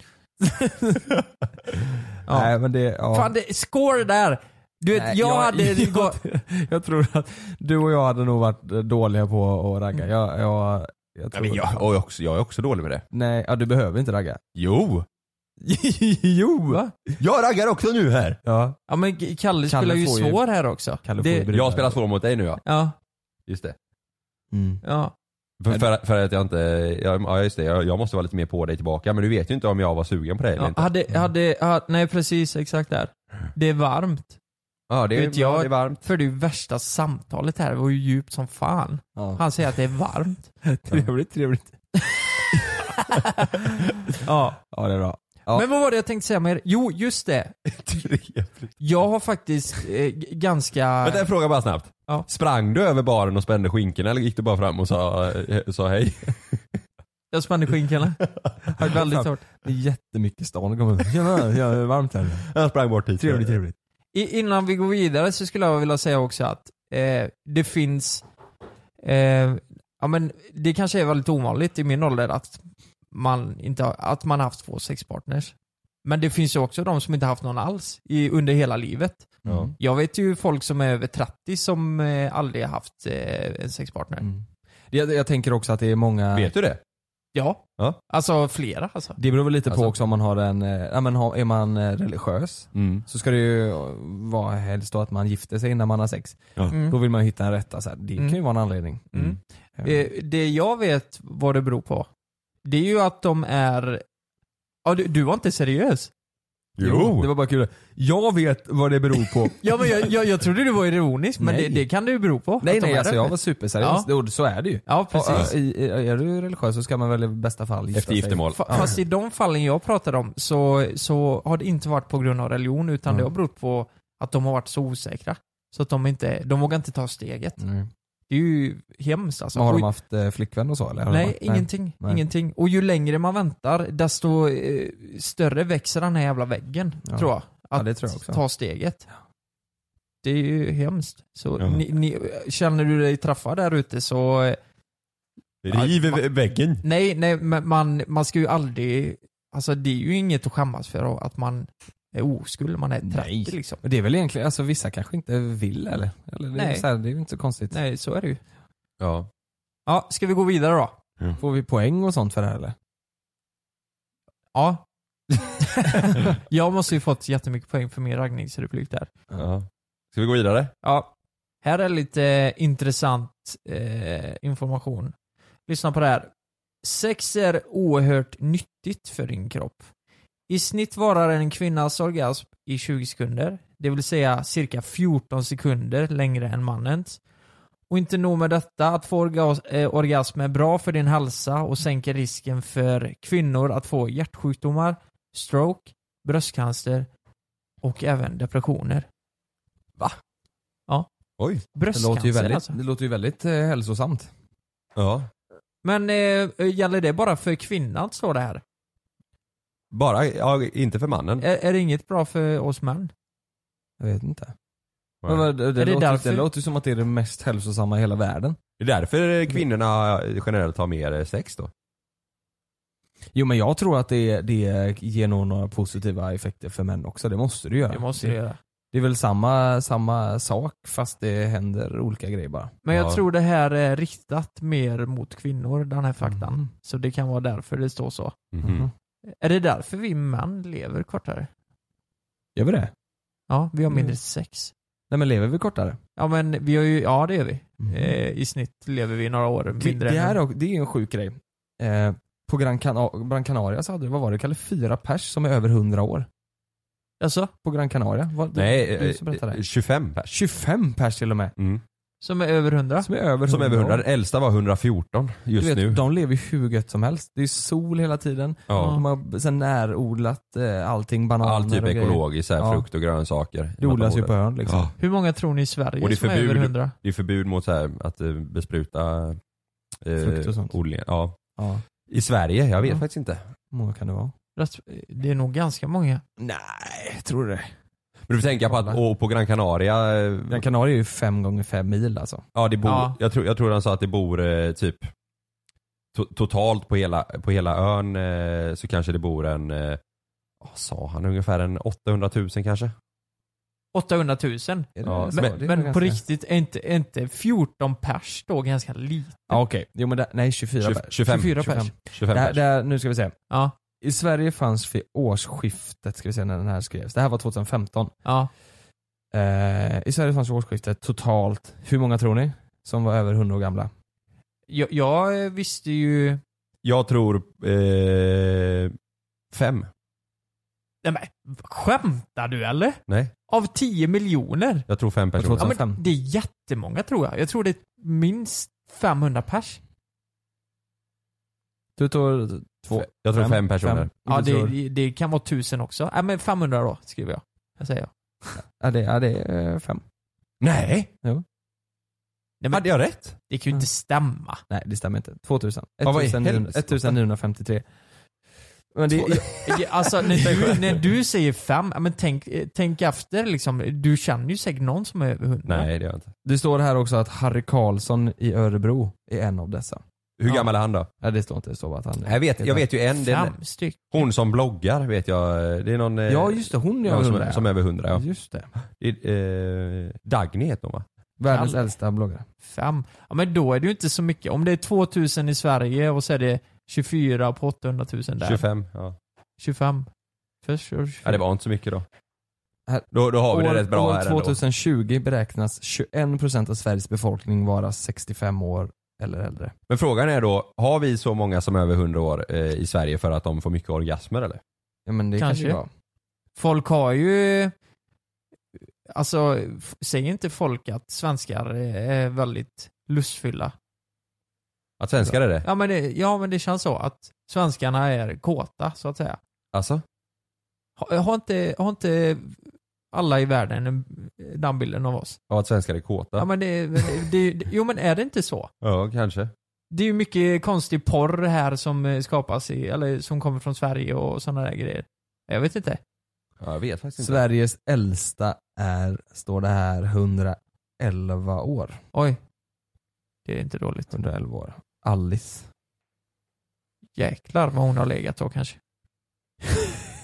[SPEAKER 3] Ja.
[SPEAKER 4] Nej men det, ja.
[SPEAKER 3] Fan, det, score där! Du vet,
[SPEAKER 4] Nej,
[SPEAKER 3] jag, hade...
[SPEAKER 4] jag, jag tror att du och jag hade nog varit eh, dåliga på att ragga. Jag, jag, Mm. jag
[SPEAKER 5] Ja,
[SPEAKER 4] tror...
[SPEAKER 5] men jag, och jag, är också, jag är också dålig med det.
[SPEAKER 4] Nej, ja, du behöver inte ragga.
[SPEAKER 5] Jo!
[SPEAKER 4] jo!
[SPEAKER 5] Jag raggar också nu här!
[SPEAKER 4] Ja.
[SPEAKER 3] Ja men Kalle, spelar ju
[SPEAKER 4] får ju-
[SPEAKER 3] svår här också.
[SPEAKER 4] Kalle får
[SPEAKER 3] Det-
[SPEAKER 4] ju bry-
[SPEAKER 5] Jag spelar svår mot dig nu ja.
[SPEAKER 3] Ja,
[SPEAKER 5] Just det.
[SPEAKER 4] Mm.
[SPEAKER 3] ja.
[SPEAKER 5] För, för, för att jag inte, ja ja, just det, jag, jag måste vara lite mer på dig tillbaka men du vet ju inte om jag var sugen på dig eller
[SPEAKER 3] ja
[SPEAKER 5] inte.
[SPEAKER 4] Mm.
[SPEAKER 3] hade, hade, hade, nej precis, exakt där. Det är varmt.
[SPEAKER 5] Ja det är,
[SPEAKER 3] vet jag-
[SPEAKER 5] det är varmt.
[SPEAKER 3] För det är ju värsta samtalet här, det var ju djupt som fan.
[SPEAKER 4] Ja.
[SPEAKER 3] Han säger att det är varmt.
[SPEAKER 4] Trevligt, trevligt.
[SPEAKER 3] Ja.
[SPEAKER 4] Ja det är bra. Ja.
[SPEAKER 3] Men vad var det jag tänkte säga med er? Jo, just det. Jag har faktiskt eh, g- ganska...
[SPEAKER 5] Vänta en fråga bara snabbt.
[SPEAKER 3] Ja.
[SPEAKER 5] Sprang du över baren och spände skinkorna eller gick du bara fram och sa, eh, sa hej?
[SPEAKER 3] Jag spann i skinkorna. Har väldigt hårt.
[SPEAKER 4] Det är jättemycket stan det kommer. Tjena, ja, det är varmt här.
[SPEAKER 5] Jag sprang bort hit.
[SPEAKER 4] Trevligt, trevligt.
[SPEAKER 3] I, innan vi går vidare så skulle jag vilja säga också att eh, det finns, eh, ja men det kanske är väldigt ovanligt i min ålder att man inte har, att man har haft två sexpartners. Men det finns ju också de som inte haft någon alls i, under hela livet.
[SPEAKER 4] Ja.
[SPEAKER 3] Jag vet ju folk som är över 30 som eh, aldrig har haft eh, en sexpartner.
[SPEAKER 4] Mm. Det, jag, jag tänker också att det är många...
[SPEAKER 5] Vet du det?
[SPEAKER 3] Ja.
[SPEAKER 5] Ja.
[SPEAKER 3] Alltså flera alltså.
[SPEAKER 4] Det beror väl lite på
[SPEAKER 5] Alltså-
[SPEAKER 4] också om man har en, eh, ja men har, är man eh, religiös
[SPEAKER 5] Mm.
[SPEAKER 4] så ska det ju eh, vara helst då att man gifter sig innan man har sex.
[SPEAKER 3] Mm.
[SPEAKER 4] Då vill man ju hitta en rätta så här. Det
[SPEAKER 3] Mm.
[SPEAKER 4] kan ju vara en anledning.
[SPEAKER 3] Mm.
[SPEAKER 4] Eh,
[SPEAKER 3] Eh, Det jag vet vad det beror på, det är ju att de är... Ja, du, du var inte seriös.
[SPEAKER 5] Jo!
[SPEAKER 4] Eh, Det var bara kul. Jag vet vad det beror på.
[SPEAKER 3] Ja men jag, jag, jag trodde du var ironisk, men
[SPEAKER 4] Nej.
[SPEAKER 3] det, det kan det ju bero på.
[SPEAKER 4] nej
[SPEAKER 3] att de
[SPEAKER 4] nej
[SPEAKER 3] är
[SPEAKER 4] alltså
[SPEAKER 3] det.
[SPEAKER 4] jag var superseriös.
[SPEAKER 3] Ja.
[SPEAKER 4] Jo, Så är det ju.
[SPEAKER 3] Ja precis.
[SPEAKER 4] Och, eh, i- i- Är du religiös så ska man väl i bästa fall gifta
[SPEAKER 5] Efter
[SPEAKER 4] sig.
[SPEAKER 5] giftermål.
[SPEAKER 3] Fa- Fast i de fallen jag pratar om så, så har det inte varit på grund av religion utan
[SPEAKER 4] Mm.
[SPEAKER 3] det har berott på att de har varit så osäkra. Så att de inte, de vågar inte ta steget.
[SPEAKER 4] Mm.
[SPEAKER 3] Det är ju hemskt alltså.
[SPEAKER 4] Men har
[SPEAKER 3] Och-
[SPEAKER 4] de haft eh, flickvän och så eller? Har de
[SPEAKER 3] Nej,
[SPEAKER 4] haft-
[SPEAKER 3] ingenting.
[SPEAKER 4] Nej.
[SPEAKER 3] Ingenting. Och ju längre man väntar, desto eh, större växer den här jävla väggen,
[SPEAKER 4] Ja.
[SPEAKER 3] tror jag. Att
[SPEAKER 4] Ja, det tror jag också.
[SPEAKER 3] ta steget. Det är ju hemskt. Så
[SPEAKER 5] Ja.
[SPEAKER 3] ni, ni, känner du dig träffad där ute så eh,
[SPEAKER 5] Riv vä- väggen.
[SPEAKER 3] Nej, nej, men man, man ska ju aldrig... Alltså det är ju inget att skämmas för att man är oskuld, man är 30
[SPEAKER 4] Nej.
[SPEAKER 3] liksom.
[SPEAKER 4] Men Det är väl egentligen, alltså vissa kanske inte vill eller? eller det, är
[SPEAKER 3] Nej.
[SPEAKER 4] så här, det är ju inte så konstigt.
[SPEAKER 3] Nej, så är det ju.
[SPEAKER 5] Ja.
[SPEAKER 3] Ja, ska vi gå vidare då?
[SPEAKER 4] Får vi poäng och sånt för det här eller?
[SPEAKER 3] Ja. jag måste ju fått jättemycket poäng för min raggningsreplik där.
[SPEAKER 5] ja. Ska vi gå vidare?
[SPEAKER 3] Ja. Här är lite intressant eh, information. Lyssna på det här. Sex är oerhört nyttigt för din kropp. I snitt varar en kvinnas orgasm i 20 sekunder, det vill säga cirka 14 sekunder längre än mannens. Och inte nog med detta, att få orgas- eh, orgasm är bra för din hälsa och sänker risken för kvinnor att få hjärtsjukdomar, stroke, bröstcancer och även depressioner. Va? Ja.
[SPEAKER 5] Oj,
[SPEAKER 4] Det
[SPEAKER 3] Bröstcancer
[SPEAKER 4] låter ju väldigt,
[SPEAKER 3] alltså.
[SPEAKER 4] det låter ju väldigt eh, hälsosamt.
[SPEAKER 5] Ja.
[SPEAKER 3] Men eh, gäller det bara för kvinnan står det här?
[SPEAKER 5] Bara, ja, inte för mannen.
[SPEAKER 3] Är, är det inget bra för oss män?
[SPEAKER 4] Jag vet inte.
[SPEAKER 5] Nej.
[SPEAKER 4] Men vad- det,
[SPEAKER 3] Är det
[SPEAKER 4] låter,
[SPEAKER 3] därför-
[SPEAKER 4] det låter ju som att det är det mest hälsosamma i hela världen.
[SPEAKER 5] Det är därför kvinnorna generellt har mer eh, sex då.
[SPEAKER 4] Jo men jag tror att det, det ger nog några positiva effekter för män också, det måste det göra.
[SPEAKER 3] Det måste det göra.
[SPEAKER 4] Det är väl samma, samma sak fast det händer olika grejer bara.
[SPEAKER 3] Men jag
[SPEAKER 5] Ja.
[SPEAKER 3] tror det här är riktat mer mot kvinnor, den här faktan. Mm.
[SPEAKER 4] Mm.
[SPEAKER 3] Så det kan vara därför det står så.
[SPEAKER 5] Mhm.
[SPEAKER 3] Är det därför vi män lever kortare?
[SPEAKER 4] Gör vi det?
[SPEAKER 3] Ja, vi har mindre
[SPEAKER 4] Mm.
[SPEAKER 3] sex.
[SPEAKER 4] Nej men lever vi kortare?
[SPEAKER 3] Ja men vi har ju, ja det gör vi.
[SPEAKER 4] Mhm.
[SPEAKER 3] Eh, I snitt lever vi några år
[SPEAKER 4] Det,
[SPEAKER 3] mindre
[SPEAKER 4] det,
[SPEAKER 3] än
[SPEAKER 4] här, är också- det är en sjuk grej. Eh, på Gran, Cana- Gran Canaria så hade det, vad var det, Kalle, fyra pers som är över 100 år.
[SPEAKER 3] Alltså,
[SPEAKER 4] På Gran Canaria? Vad, du,
[SPEAKER 5] Nej,
[SPEAKER 4] du som berättade.
[SPEAKER 5] eh, 25 pers.
[SPEAKER 4] 25 pers till och med.
[SPEAKER 5] Mm.
[SPEAKER 3] som är över hundra.
[SPEAKER 4] Som är över 100
[SPEAKER 5] Som över 100.
[SPEAKER 4] år.
[SPEAKER 5] Den äldsta var 114 just
[SPEAKER 4] Du vet,
[SPEAKER 5] nu.
[SPEAKER 4] de lever ju hur gött som helst. Det är sol hela tiden.
[SPEAKER 5] Ja.
[SPEAKER 4] De har sen närodlat eh, allting, bananer
[SPEAKER 5] All typ
[SPEAKER 4] och grejer.
[SPEAKER 5] ekologiskt, så här,
[SPEAKER 4] Ja.
[SPEAKER 5] frukt och grönsaker.
[SPEAKER 4] Det odlas ju på ön liksom.
[SPEAKER 5] Ja.
[SPEAKER 3] Hur många tror ni i Sverige
[SPEAKER 5] Och det är
[SPEAKER 3] som är över
[SPEAKER 5] förbud.
[SPEAKER 3] hundra?
[SPEAKER 5] Det är förbud mot så här, att eh, bespruta eh,
[SPEAKER 4] Frukt och sånt.
[SPEAKER 5] odlingar. Ja.
[SPEAKER 4] Ja.
[SPEAKER 5] I Sverige? Jag vet
[SPEAKER 4] Ja.
[SPEAKER 5] faktiskt inte.
[SPEAKER 4] Hur många kan det vara?
[SPEAKER 3] Rätt- Det är nog ganska många.
[SPEAKER 4] Nej, tror du det?
[SPEAKER 5] Men du får tänka på att och på Gran Canaria, eh,
[SPEAKER 4] Gran Canaria är ju fem gånger fem mil alltså.
[SPEAKER 5] ja, det bor,
[SPEAKER 3] Ja.
[SPEAKER 5] Jag, tror, jag tror han sa att det bor eh, typ to, totalt på hela, på hela ön eh, så kanske det bor en, eh, vad sa han, ungefär en 800 000 kanske?
[SPEAKER 3] 800 000.
[SPEAKER 4] Är
[SPEAKER 5] Ja,
[SPEAKER 4] så?
[SPEAKER 5] men-
[SPEAKER 4] Det
[SPEAKER 3] Men
[SPEAKER 4] är väl
[SPEAKER 3] på
[SPEAKER 4] ganska-
[SPEAKER 3] riktigt, är inte, är inte 14 pers då ganska lite?
[SPEAKER 4] Ja, Okej, jo men det, nej 24
[SPEAKER 5] Tjugo-
[SPEAKER 4] pers.
[SPEAKER 5] 25.
[SPEAKER 4] 24
[SPEAKER 3] 25.
[SPEAKER 4] pers.
[SPEAKER 5] 25
[SPEAKER 4] Det här,
[SPEAKER 5] pers.
[SPEAKER 4] det här, nu ska vi se.
[SPEAKER 3] Ja,
[SPEAKER 4] I Sverige fanns vid årsskiftet, ska vi se när den här skrevs. Det här var 2015.
[SPEAKER 3] ja.
[SPEAKER 4] Eh, I Sverige fanns vid årsskiftet totalt, hur många tror ni? Som var över 100 år gamla?
[SPEAKER 3] Jag, jag eh, visste ju...
[SPEAKER 5] Jag tror eh, fem.
[SPEAKER 3] Nej men, skämtar du eller?
[SPEAKER 5] Nej,
[SPEAKER 3] Av 10 miljoner?
[SPEAKER 5] jag tror fem personer.
[SPEAKER 4] tror-
[SPEAKER 3] Ja, men
[SPEAKER 4] Fem.
[SPEAKER 3] det är jättemånga tror jag. Jag tror det är minst 500 pers.
[SPEAKER 4] Du tror två?
[SPEAKER 5] Jag tror fem personer.
[SPEAKER 3] Ja,
[SPEAKER 4] Du tror-
[SPEAKER 3] det, det kan vara 1000 också. Nej men 500 då, skriver jag. Jag säger jag.
[SPEAKER 4] Ja, det, ja, det är eh, fem.
[SPEAKER 5] Nej!
[SPEAKER 3] Nej, men
[SPEAKER 5] Hade jag rätt?
[SPEAKER 3] det kan ju inte stämma.
[SPEAKER 4] Nej, det stämmer inte. 2000.
[SPEAKER 5] Ja, vad i
[SPEAKER 4] 1900
[SPEAKER 5] helvete?
[SPEAKER 4] 1953. Men det,
[SPEAKER 3] Det- Alltså när du, när du säger fem, ja, men tänk, eh, tänk efter liksom. Du känner ju säkert någon som är över 100.
[SPEAKER 5] Nej, det gör jag inte.
[SPEAKER 4] det står här också att Harry Karlsson i Örebro är en av dessa.
[SPEAKER 5] Hur
[SPEAKER 3] Ja.
[SPEAKER 5] gammal är han då?
[SPEAKER 4] Nej, det står inte. Det står bara att han är.
[SPEAKER 5] Jag vet, jag vet ju en. Det är,
[SPEAKER 3] Fem styck.
[SPEAKER 5] hon som bloggar vet jag. Det är någon... eh,
[SPEAKER 4] Ja, just det. Hon är
[SPEAKER 5] någon
[SPEAKER 4] över
[SPEAKER 5] som,
[SPEAKER 4] 100.
[SPEAKER 5] som är över 100 ja.
[SPEAKER 4] Just det.
[SPEAKER 5] Det är, eh, Dagny heter hon va?
[SPEAKER 4] Världens
[SPEAKER 3] Kalle.
[SPEAKER 4] äldsta bloggare.
[SPEAKER 3] Fem. Ja men då är det ju inte så mycket. Om det är 2000 i Sverige och så är det 24 på 800 000 där.
[SPEAKER 5] 25. Ja.
[SPEAKER 3] 25. Först kör du 25.
[SPEAKER 5] ja, det var inte så mycket då.
[SPEAKER 4] Här.
[SPEAKER 5] Då, då har vi det rätt bra
[SPEAKER 4] år
[SPEAKER 5] här ändå.
[SPEAKER 4] 2020 beräknas 21% av Sveriges befolkning vara 65 år eller äldre.
[SPEAKER 5] Men frågan är då, har vi så många som är över 100 år eh, i Sverige för att de får mycket orgasmer eller?
[SPEAKER 4] Ja, men det
[SPEAKER 3] Kanske.
[SPEAKER 4] kanske var.
[SPEAKER 3] Folk har ju... Alltså, f- säger inte folk att svenskar är väldigt lustfyllda?
[SPEAKER 5] Att svenskar är det?
[SPEAKER 3] Ja men det, ja, men det känns så att svenskarna är kåta, så att säga.
[SPEAKER 5] Alltså?
[SPEAKER 3] Har, har, inte, har inte alla i världen en- den bilden av oss?
[SPEAKER 5] Ja, att svenskar är kåta?
[SPEAKER 3] Ja, men det, det, det, jo men är det inte så?
[SPEAKER 5] Ja, kanske.
[SPEAKER 3] Det är ju mycket konstig porr här som eh, skapas i, eller som kommer från Sverige och sådana där grejer. Jag vet inte.
[SPEAKER 5] Ja, jag vet faktiskt inte.
[SPEAKER 4] Sveriges äldsta är, står det här, 111 år.
[SPEAKER 3] Oj. Det är inte dåligt.
[SPEAKER 4] 111 år. Alice.
[SPEAKER 3] Jäklar vad hon har legat då kanske.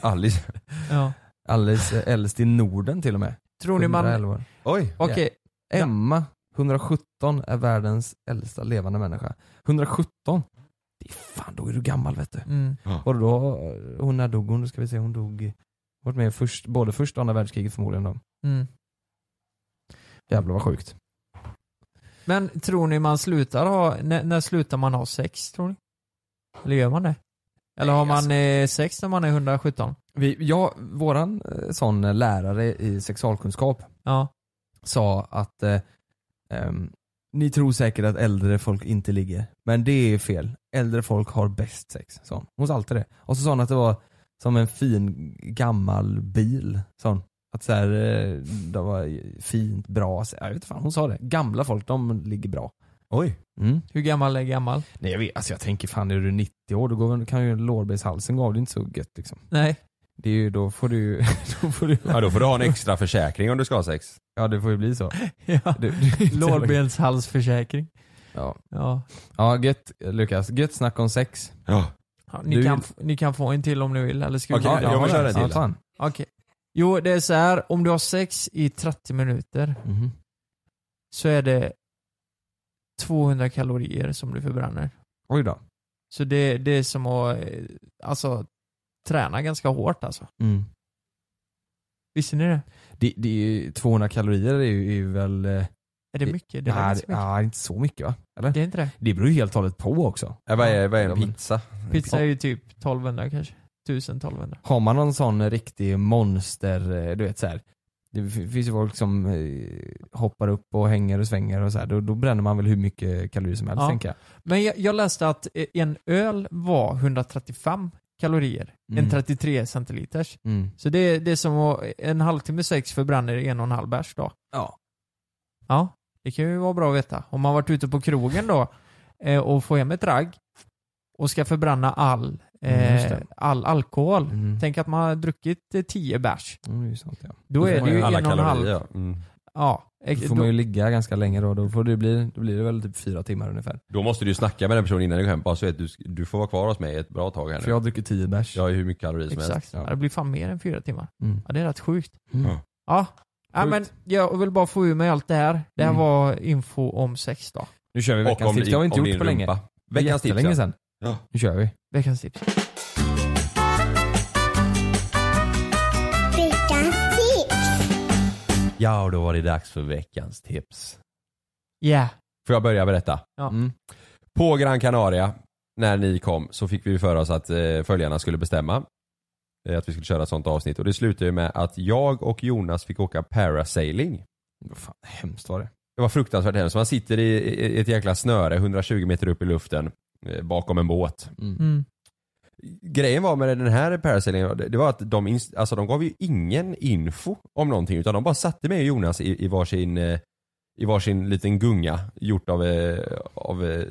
[SPEAKER 5] Alice.
[SPEAKER 3] Ja.
[SPEAKER 4] Alice är äldst i Norden till och med.
[SPEAKER 3] Tror ni man...
[SPEAKER 4] 111 år.
[SPEAKER 5] Oj.
[SPEAKER 3] Okej,
[SPEAKER 4] Emma, 117, är världens äldsta levande människa. 117? Det är fan, då är du gammal vet du.
[SPEAKER 3] mm.
[SPEAKER 4] Och då, eh, hon när dog hon? Då ska vi se, hon dog, hon varit med i först, både första och andra världskriget förmodligen då.
[SPEAKER 3] Mm.
[SPEAKER 4] Jävlar vad sjukt.
[SPEAKER 3] Men tror ni man slutar ha, när, när slutar man alltså- ha sex tror ni? Eller gör man det? Eller har man eh, sex när man är 117?
[SPEAKER 4] Vi, jag, våran eh, sån lärare i sexualkunskap
[SPEAKER 3] Ja.
[SPEAKER 4] sa att eh, ehm, ni tror säkert att äldre folk inte ligger, men det är fel. Äldre folk har bäst sex. sa hon. hon sa alltid det. Och så sa hon att det var som en fin gammal bil. Sa hon. Att så här, eh, det var fint, bra. Jag vet inte fan, hon sa det. Gamla folk, de ligger bra. Oj. Mm.
[SPEAKER 3] Hur gammal är gammal?
[SPEAKER 4] Nej jag vet, alltså jag tänker fan är du 90 år då går, väl- kan ju lårbenshalsen gå av, det är inte så gött liksom.
[SPEAKER 3] Nej.
[SPEAKER 4] Det är ju, då får du ju- då får du,
[SPEAKER 5] Ja, då får du ha en extra försäkring om du ska ha sex.
[SPEAKER 4] ja det får ju bli så.
[SPEAKER 3] Ja.
[SPEAKER 4] Du, du,
[SPEAKER 3] Lårbenshalsförsäkring.
[SPEAKER 4] Ja.
[SPEAKER 3] Ja.
[SPEAKER 4] ja gött Lukas, gött snack om sex.
[SPEAKER 5] Ja.
[SPEAKER 3] Ja, ni,
[SPEAKER 4] Du-
[SPEAKER 3] kan, f- ni kan få en till om ni vill, eller ska vi
[SPEAKER 5] Okej,
[SPEAKER 3] ta den?
[SPEAKER 5] jag vill köra en
[SPEAKER 4] ja,
[SPEAKER 5] till.
[SPEAKER 4] fan.
[SPEAKER 3] Okej. Jo, det är så här. om du har sex i 30 minuter
[SPEAKER 4] Mhm.
[SPEAKER 3] så är det 200 kalorier som du förbränner.
[SPEAKER 4] Oj då.
[SPEAKER 3] Så det, det är som att eh, alltså, träna ganska hårt alltså.
[SPEAKER 4] Mm.
[SPEAKER 3] Visste ni det?
[SPEAKER 4] Det, det är ju, 200 kalorier är ju, är ju väl... eh,
[SPEAKER 3] Är det
[SPEAKER 4] Det-
[SPEAKER 3] mycket? Det är inte
[SPEAKER 4] nej,
[SPEAKER 3] så mycket.
[SPEAKER 4] ja, inte så mycket va? Eller?
[SPEAKER 3] Det
[SPEAKER 4] Det,
[SPEAKER 3] är inte det.
[SPEAKER 4] beror ju helt och hållet på också.
[SPEAKER 5] Ja, vad, är, vad är
[SPEAKER 4] Ja,
[SPEAKER 5] en
[SPEAKER 4] men-
[SPEAKER 5] pizza?
[SPEAKER 3] Pizza är ju typ 1200 kanske. 1000 1200.
[SPEAKER 4] Har man någon sån riktig monster, eh, du vet så här. Det f- finns ju folk som eh, hoppar upp och hänger och svänger och så här. Då, då bränner man väl hur mycket kalorier som helst
[SPEAKER 3] Ja.
[SPEAKER 4] tänker jag.
[SPEAKER 3] Men jag, jag läste att eh, en öl var 135 kalorier.
[SPEAKER 4] Mm.
[SPEAKER 3] En 33 centiliters.
[SPEAKER 4] Mm.
[SPEAKER 3] Så det, det är som att en halvtimme sex förbränner en och en halv bärs då.
[SPEAKER 4] Ja.
[SPEAKER 3] Ja, det kan ju vara bra att veta. Om man varit ute på krogen då eh, och får hem ett ragg och ska förbränna all,
[SPEAKER 4] Mm, just
[SPEAKER 3] eh,
[SPEAKER 4] det.
[SPEAKER 3] all alkohol.
[SPEAKER 4] Mm.
[SPEAKER 3] Tänk att man har druckit eh, 10 bärs.
[SPEAKER 4] Mm, det är ju sant, ja.
[SPEAKER 3] Då är
[SPEAKER 4] får
[SPEAKER 3] det
[SPEAKER 4] man
[SPEAKER 3] ju
[SPEAKER 4] ju
[SPEAKER 3] en
[SPEAKER 5] Alla
[SPEAKER 3] och en halv.
[SPEAKER 5] kalorier ja. Mm.
[SPEAKER 3] Ja, ex-
[SPEAKER 4] Då får
[SPEAKER 3] då-
[SPEAKER 4] man ju ligga ganska länge då. Då, får det bli, då blir det väl typ fyra timmar ungefär.
[SPEAKER 5] Då måste du ju snacka med den personen innan du går hem. Bara så att du, du får vara kvar hos mig ett bra tag här
[SPEAKER 4] För
[SPEAKER 5] nu.
[SPEAKER 4] jag dricker tio bärs.
[SPEAKER 5] Jag har ju hur mycket kalorier som helst.
[SPEAKER 3] Exakt.
[SPEAKER 4] Ja.
[SPEAKER 3] Ja. Det blir fan mer än fyra timmar.
[SPEAKER 4] Mm.
[SPEAKER 3] Ja, det är rätt sjukt.
[SPEAKER 4] Mm.
[SPEAKER 5] Ja.
[SPEAKER 3] Ja. Ja,
[SPEAKER 4] Sjukt.
[SPEAKER 3] men jag vill bara få ur mig allt det här. Det här
[SPEAKER 4] Mm.
[SPEAKER 3] var info om sex då.
[SPEAKER 4] Nu kör vi
[SPEAKER 5] Och
[SPEAKER 4] veckans
[SPEAKER 5] om,
[SPEAKER 4] tips. Det har vi inte
[SPEAKER 5] om
[SPEAKER 4] gjort
[SPEAKER 5] din
[SPEAKER 4] på länge.
[SPEAKER 5] rumpa. Veckans tips
[SPEAKER 4] Jättelänge
[SPEAKER 5] ja.
[SPEAKER 4] sedan.
[SPEAKER 5] Ja.
[SPEAKER 4] Nu kör vi.
[SPEAKER 3] Veckans tips.
[SPEAKER 5] ja, och då var det dags för veckans tips.
[SPEAKER 3] Yeah.
[SPEAKER 5] Får jag börja berätta?
[SPEAKER 3] Ja.
[SPEAKER 4] Mm.
[SPEAKER 5] På Gran Canaria, när ni kom, så fick vi för oss att eh, följarna skulle bestämma eh, att vi skulle köra ett sånt avsnitt. Och det slutade ju med att jag och Jonas fick åka parasailing.
[SPEAKER 4] Vad fan, hemskt var det.
[SPEAKER 5] Det var fruktansvärt hemskt. Man sitter i- i ett jäkla snöre 120 meter upp i luften eh, bakom en båt.
[SPEAKER 3] Mm.
[SPEAKER 5] Grejen var med den här parasailingen, det det var att de, ins- alltså de gav ju ingen info om någonting utan de bara satte mig och Jonas i, i, varsin, eh, i varsin liten gunga gjort av, eh, av eh,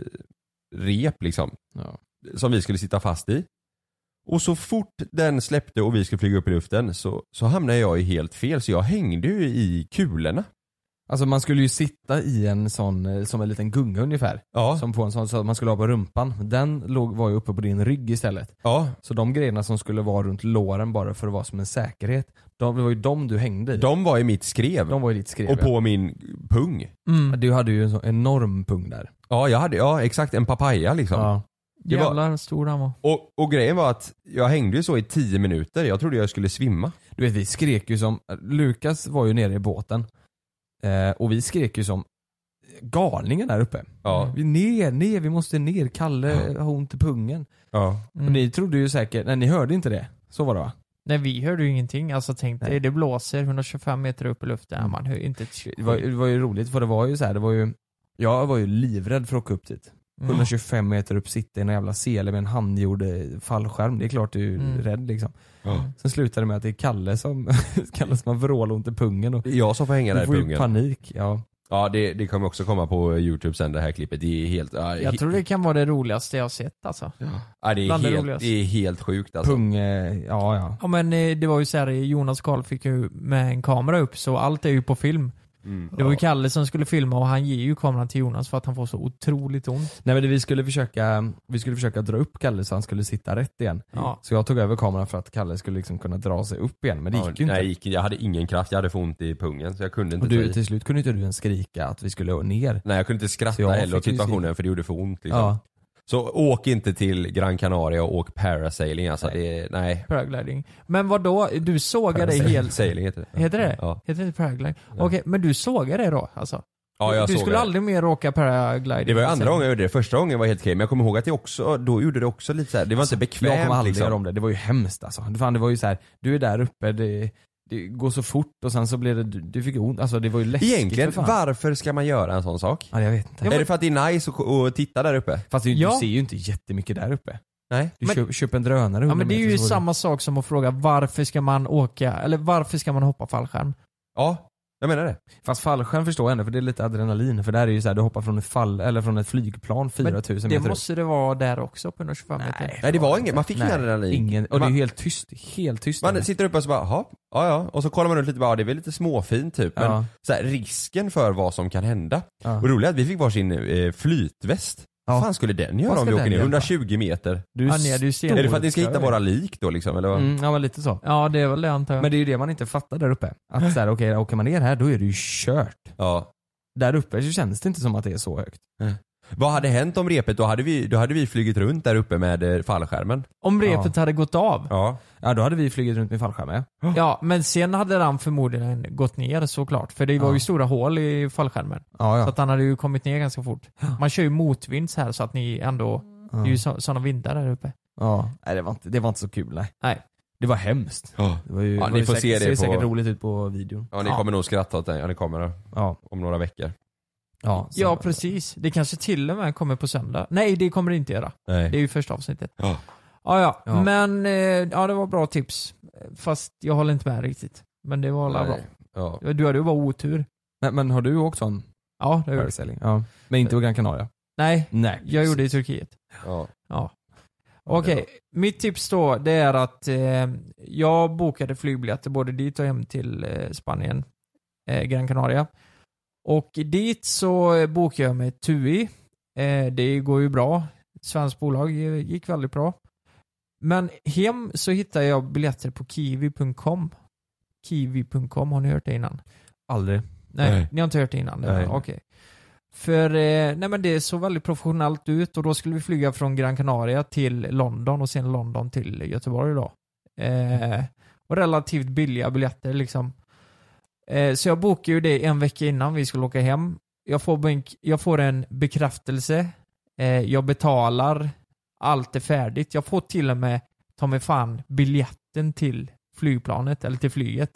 [SPEAKER 5] rep liksom.
[SPEAKER 4] Ja.
[SPEAKER 5] Som vi skulle sitta fast i. Och så fort den släppte och vi skulle flyga upp i luften så, så hamnade jag ju helt fel så jag hängde ju i kulorna.
[SPEAKER 4] Alltså man skulle ju sitta i en sån, eh, som en liten gunga ungefär.
[SPEAKER 5] Ja,
[SPEAKER 4] Som på en sån, så att man skulle ha på rumpan. Den låg, var ju uppe på din rygg istället.
[SPEAKER 5] ja.
[SPEAKER 4] Så de grejerna som skulle vara runt låren bara för att vara som en säkerhet. De, det var ju de du hängde i.
[SPEAKER 5] De var i mitt skrev.
[SPEAKER 4] de var ju ditt skrev.
[SPEAKER 5] och på min pung.
[SPEAKER 4] ja.
[SPEAKER 3] Mm.
[SPEAKER 4] Du hade ju en sån enorm pung där.
[SPEAKER 5] Ja, jag hade, ja exakt en papaya liksom. det var-
[SPEAKER 3] Jävlar vad stor han var.
[SPEAKER 5] Och, och grejen var att jag hängde ju så i tio minuter. Jag trodde jag skulle svimma.
[SPEAKER 4] Du vet vi skrek ju som, Lukas var ju nere i båten. Eh, och vi skrek ju som galningen där uppe.
[SPEAKER 5] Ja.
[SPEAKER 4] Vi ner, ner, vi måste ner. Kalle har ont i pungen.
[SPEAKER 5] Ja.
[SPEAKER 4] Och
[SPEAKER 3] Mm.
[SPEAKER 4] ni trodde ju säkert, nej ni hörde inte det. Så var det va?
[SPEAKER 3] Nej vi hörde ju ingenting. Alltså tänk dig,
[SPEAKER 4] Nej.
[SPEAKER 3] det blåser 125 meter upp i luften.
[SPEAKER 4] Mm.
[SPEAKER 3] Man hör ju inte ett skit.
[SPEAKER 4] Det var, det var ju roligt för det var ju så här, det var ju jag var ju livrädd för att åka upp dit.
[SPEAKER 3] Mm.
[SPEAKER 4] 125 meter upp sitter i en jävla sele med en handgjord eh, fallskärm. Det är klart du är
[SPEAKER 3] Mm.
[SPEAKER 4] rädd liksom.
[SPEAKER 5] Ja.
[SPEAKER 4] Sen slutade det med att det är Kalle som, Kalle som har vrålont i pungen och
[SPEAKER 5] Det är Jag som får hänga där
[SPEAKER 4] du
[SPEAKER 5] i
[SPEAKER 4] får ju
[SPEAKER 5] pungen.
[SPEAKER 4] panik. Ja.
[SPEAKER 5] Ja, det, det kommer också komma på youtube sen det här klippet. Det är helt... Ja, he-
[SPEAKER 3] Jag tror det kan vara det roligaste jag har sett alltså.
[SPEAKER 5] ja, det, är
[SPEAKER 3] bland det
[SPEAKER 5] helt
[SPEAKER 3] roligaste.
[SPEAKER 5] det är helt sjukt alltså.
[SPEAKER 4] Pung, eh, ja ja.
[SPEAKER 3] Ja men eh, det var ju så här, Jonas Karl fick ju med en kamera upp så allt är ju på film.
[SPEAKER 5] Mm.
[SPEAKER 3] Det var ju Kalle som skulle filma och han ger ju kameran till Jonas för att han får så otroligt ont.
[SPEAKER 4] Nej men det- vi skulle, försöka, vi skulle försöka dra upp Kalle så han skulle sitta rätt igen.
[SPEAKER 3] Ja.
[SPEAKER 4] Så jag tog över kameran för att Kalle skulle liksom kunna dra sig upp igen men det gick
[SPEAKER 5] Ja,
[SPEAKER 4] ju inte.
[SPEAKER 5] nej, gick, jag hade ingen kraft. Jag hade för ont i pungen så jag kunde inte
[SPEAKER 4] och
[SPEAKER 5] ta
[SPEAKER 4] du, typ-
[SPEAKER 5] i.
[SPEAKER 4] till slut kunde inte du ens skrika att vi skulle ner.
[SPEAKER 5] Nej, jag kunde inte
[SPEAKER 4] Så
[SPEAKER 5] skratta
[SPEAKER 4] jag
[SPEAKER 5] heller åt
[SPEAKER 4] fick ju
[SPEAKER 5] situationen för det gjorde för ont. Liksom. Så åk inte till Gran Canaria och åk parasailing alltså.
[SPEAKER 4] Nej.
[SPEAKER 5] Nej. Det, är- nej.
[SPEAKER 3] Paragliding. Men vad då? Du sågade det
[SPEAKER 4] Paragliding.
[SPEAKER 3] helt...
[SPEAKER 5] Sailing heter det.
[SPEAKER 3] Heter det
[SPEAKER 5] Ja.
[SPEAKER 3] Heter det paragliding? Okej, men du sågade det då alltså?
[SPEAKER 5] Ja, jag
[SPEAKER 3] du
[SPEAKER 5] såg
[SPEAKER 3] skulle
[SPEAKER 5] det.
[SPEAKER 3] aldrig mer åka paragliding.
[SPEAKER 5] Det var ju
[SPEAKER 3] sen.
[SPEAKER 5] andra gången jag gjorde det. Första gången var helt okej men jag kommer ihåg att det också, då gjorde det också lite så här. det var inte bekvämt.
[SPEAKER 4] Jag kommer aldrig
[SPEAKER 5] liksom.
[SPEAKER 4] göra om det. Det var ju hemskt alltså. Fan, det var ju så här, du är där uppe, det, det går så fort och sen så blev det, du, du fick ont. Alltså det var ju läskigt
[SPEAKER 5] Egentligen,
[SPEAKER 4] för fan.
[SPEAKER 5] varför ska man göra en sån sak?
[SPEAKER 4] Ja, jag vet inte.
[SPEAKER 5] Är det för att det är nice att att titta där uppe?
[SPEAKER 4] Fast det, är ju-
[SPEAKER 3] Ja.
[SPEAKER 4] du ser ju inte jättemycket där uppe.
[SPEAKER 5] Nej.
[SPEAKER 4] Du
[SPEAKER 3] Men-
[SPEAKER 4] köp, köper en drönare
[SPEAKER 3] Ja
[SPEAKER 4] 100
[SPEAKER 3] men det är
[SPEAKER 4] meter
[SPEAKER 3] ju
[SPEAKER 4] så går du-
[SPEAKER 3] samma sak som att fråga varför ska man åka, eller varför ska man hoppa fallskärm?
[SPEAKER 5] Ja, jag menar det.
[SPEAKER 4] Fast fallskärm förstår jag ändå för det är lite adrenalin. För där är det ju så här, du hoppar från ett, fall, eller från ett flygplan 4000
[SPEAKER 3] Det
[SPEAKER 4] meter upp.
[SPEAKER 3] måste det vara där också på 125 meter.
[SPEAKER 5] Nej det var inget, man fick ingen adrenalin.
[SPEAKER 4] Ingen, och det är
[SPEAKER 5] Man-
[SPEAKER 4] ju helt tyst. Helt tyst. där.
[SPEAKER 5] Man sitter uppe och så bara, jaha, ja ja. Och så kollar man runt lite, bara, ja, det är väl lite småfint typ. Men
[SPEAKER 4] Ja.
[SPEAKER 5] så här, risken för vad som kan hända.
[SPEAKER 4] Ja.
[SPEAKER 5] Och roligt är att vi fick varsin eh, flytväst.
[SPEAKER 4] Ja.
[SPEAKER 5] Vad fan skulle den
[SPEAKER 4] Vad
[SPEAKER 5] göra om
[SPEAKER 4] ska
[SPEAKER 5] vi åker
[SPEAKER 4] den
[SPEAKER 5] ner?
[SPEAKER 4] göra?
[SPEAKER 5] 120 meter.
[SPEAKER 4] Du
[SPEAKER 3] Ja, nej, du ser
[SPEAKER 4] stor-
[SPEAKER 5] Är det för att ni ska hitta våra lik då liksom? Eller? vad?
[SPEAKER 4] Mm, ja men lite så.
[SPEAKER 3] Ja det är väl det antar jag.
[SPEAKER 4] Men det är ju det man inte fattar där uppe. Att såhär, okej åker man ner här då är det ju kört.
[SPEAKER 5] Ja.
[SPEAKER 4] Där uppe så känns det inte som att det är så högt.
[SPEAKER 5] Vad hade hänt om repet, då hade vi, då hade vi flugit runt där uppe med eh, fallskärmen.
[SPEAKER 3] Om repet hade gått av, ja.
[SPEAKER 5] Ja.
[SPEAKER 4] Ja då hade vi flugit runt med fallskärm ja.
[SPEAKER 3] men sen hade han förmodligen gått ner såklart. För det var
[SPEAKER 4] Ja.
[SPEAKER 3] ju stora hål i fallskärmen.
[SPEAKER 4] Ja, ja.
[SPEAKER 3] Så att han hade ju kommit ner ganska fort. Man kör ju motvind så här så att ni ändå, det är ju så, sådana vindar där uppe.
[SPEAKER 4] ja. Nej det var, inte, det var inte så kul nej.
[SPEAKER 3] Nej.
[SPEAKER 4] Det var hemskt. Det var ju,
[SPEAKER 5] Ja,
[SPEAKER 4] var
[SPEAKER 5] ni
[SPEAKER 4] ju
[SPEAKER 5] får
[SPEAKER 4] säkert,
[SPEAKER 5] se det
[SPEAKER 4] ser
[SPEAKER 5] på-
[SPEAKER 4] säkert roligt ut på videon.
[SPEAKER 5] Ja ni kommer nog skratta åt den, ja ni kommer
[SPEAKER 4] Ja.
[SPEAKER 5] om några veckor.
[SPEAKER 4] Ja, så-
[SPEAKER 3] Ja precis, det kanske till och med kommer på söndag. Nej det kommer det inte göra. Det är
[SPEAKER 5] Nej.
[SPEAKER 3] ju första avsnittet.
[SPEAKER 5] Ja.
[SPEAKER 3] Ja, ja.
[SPEAKER 4] Ja.
[SPEAKER 3] men eh, ja, det var bra tips. Fast jag håller inte med riktigt. Men det var alla
[SPEAKER 5] Nej.
[SPEAKER 3] bra.
[SPEAKER 5] Ja.
[SPEAKER 3] Du hade ju bara otur.
[SPEAKER 4] Men, men har du åkt sån
[SPEAKER 3] Ja, det gjorde jag.
[SPEAKER 4] parasailing? Ja. Men inte på Gran Canaria?
[SPEAKER 3] Nej,
[SPEAKER 4] Nej.
[SPEAKER 3] jag gjorde det i Turkiet.
[SPEAKER 5] Ja.
[SPEAKER 3] Ja.
[SPEAKER 5] Ja, det
[SPEAKER 3] Okej,
[SPEAKER 5] är
[SPEAKER 3] mitt tips då det är att eh, jag bokade flygbiljetter både dit och hem till eh, Spanien, eh, Gran Canaria. Och dit så eh, bokade jag med TUI. Eh, det går ju bra. Svenskt bolag eh, gick väldigt bra. Men hem så hittade jag biljetter på kiwi.com. Kiwi.com, har ni hört det Mm, innan?
[SPEAKER 4] Aldrig.
[SPEAKER 3] Nej,
[SPEAKER 5] Nej.
[SPEAKER 3] ni har inte hört det innan?
[SPEAKER 5] Nej.
[SPEAKER 3] Nej. Okej. För eh, nej men det såg väldigt professionellt ut och då skulle vi flyga från Gran Canaria till London och sen London till Göteborg då. Eh, och relativt billiga biljetter liksom. Eh, så jag bokade ju det en vecka innan vi skulle åka hem. Jag får, bänk- jag får en bekräftelse. Eh, jag betalar. Allt är färdigt. Jag får till och med ta mig fan biljetten till flygplanet eller till flyget.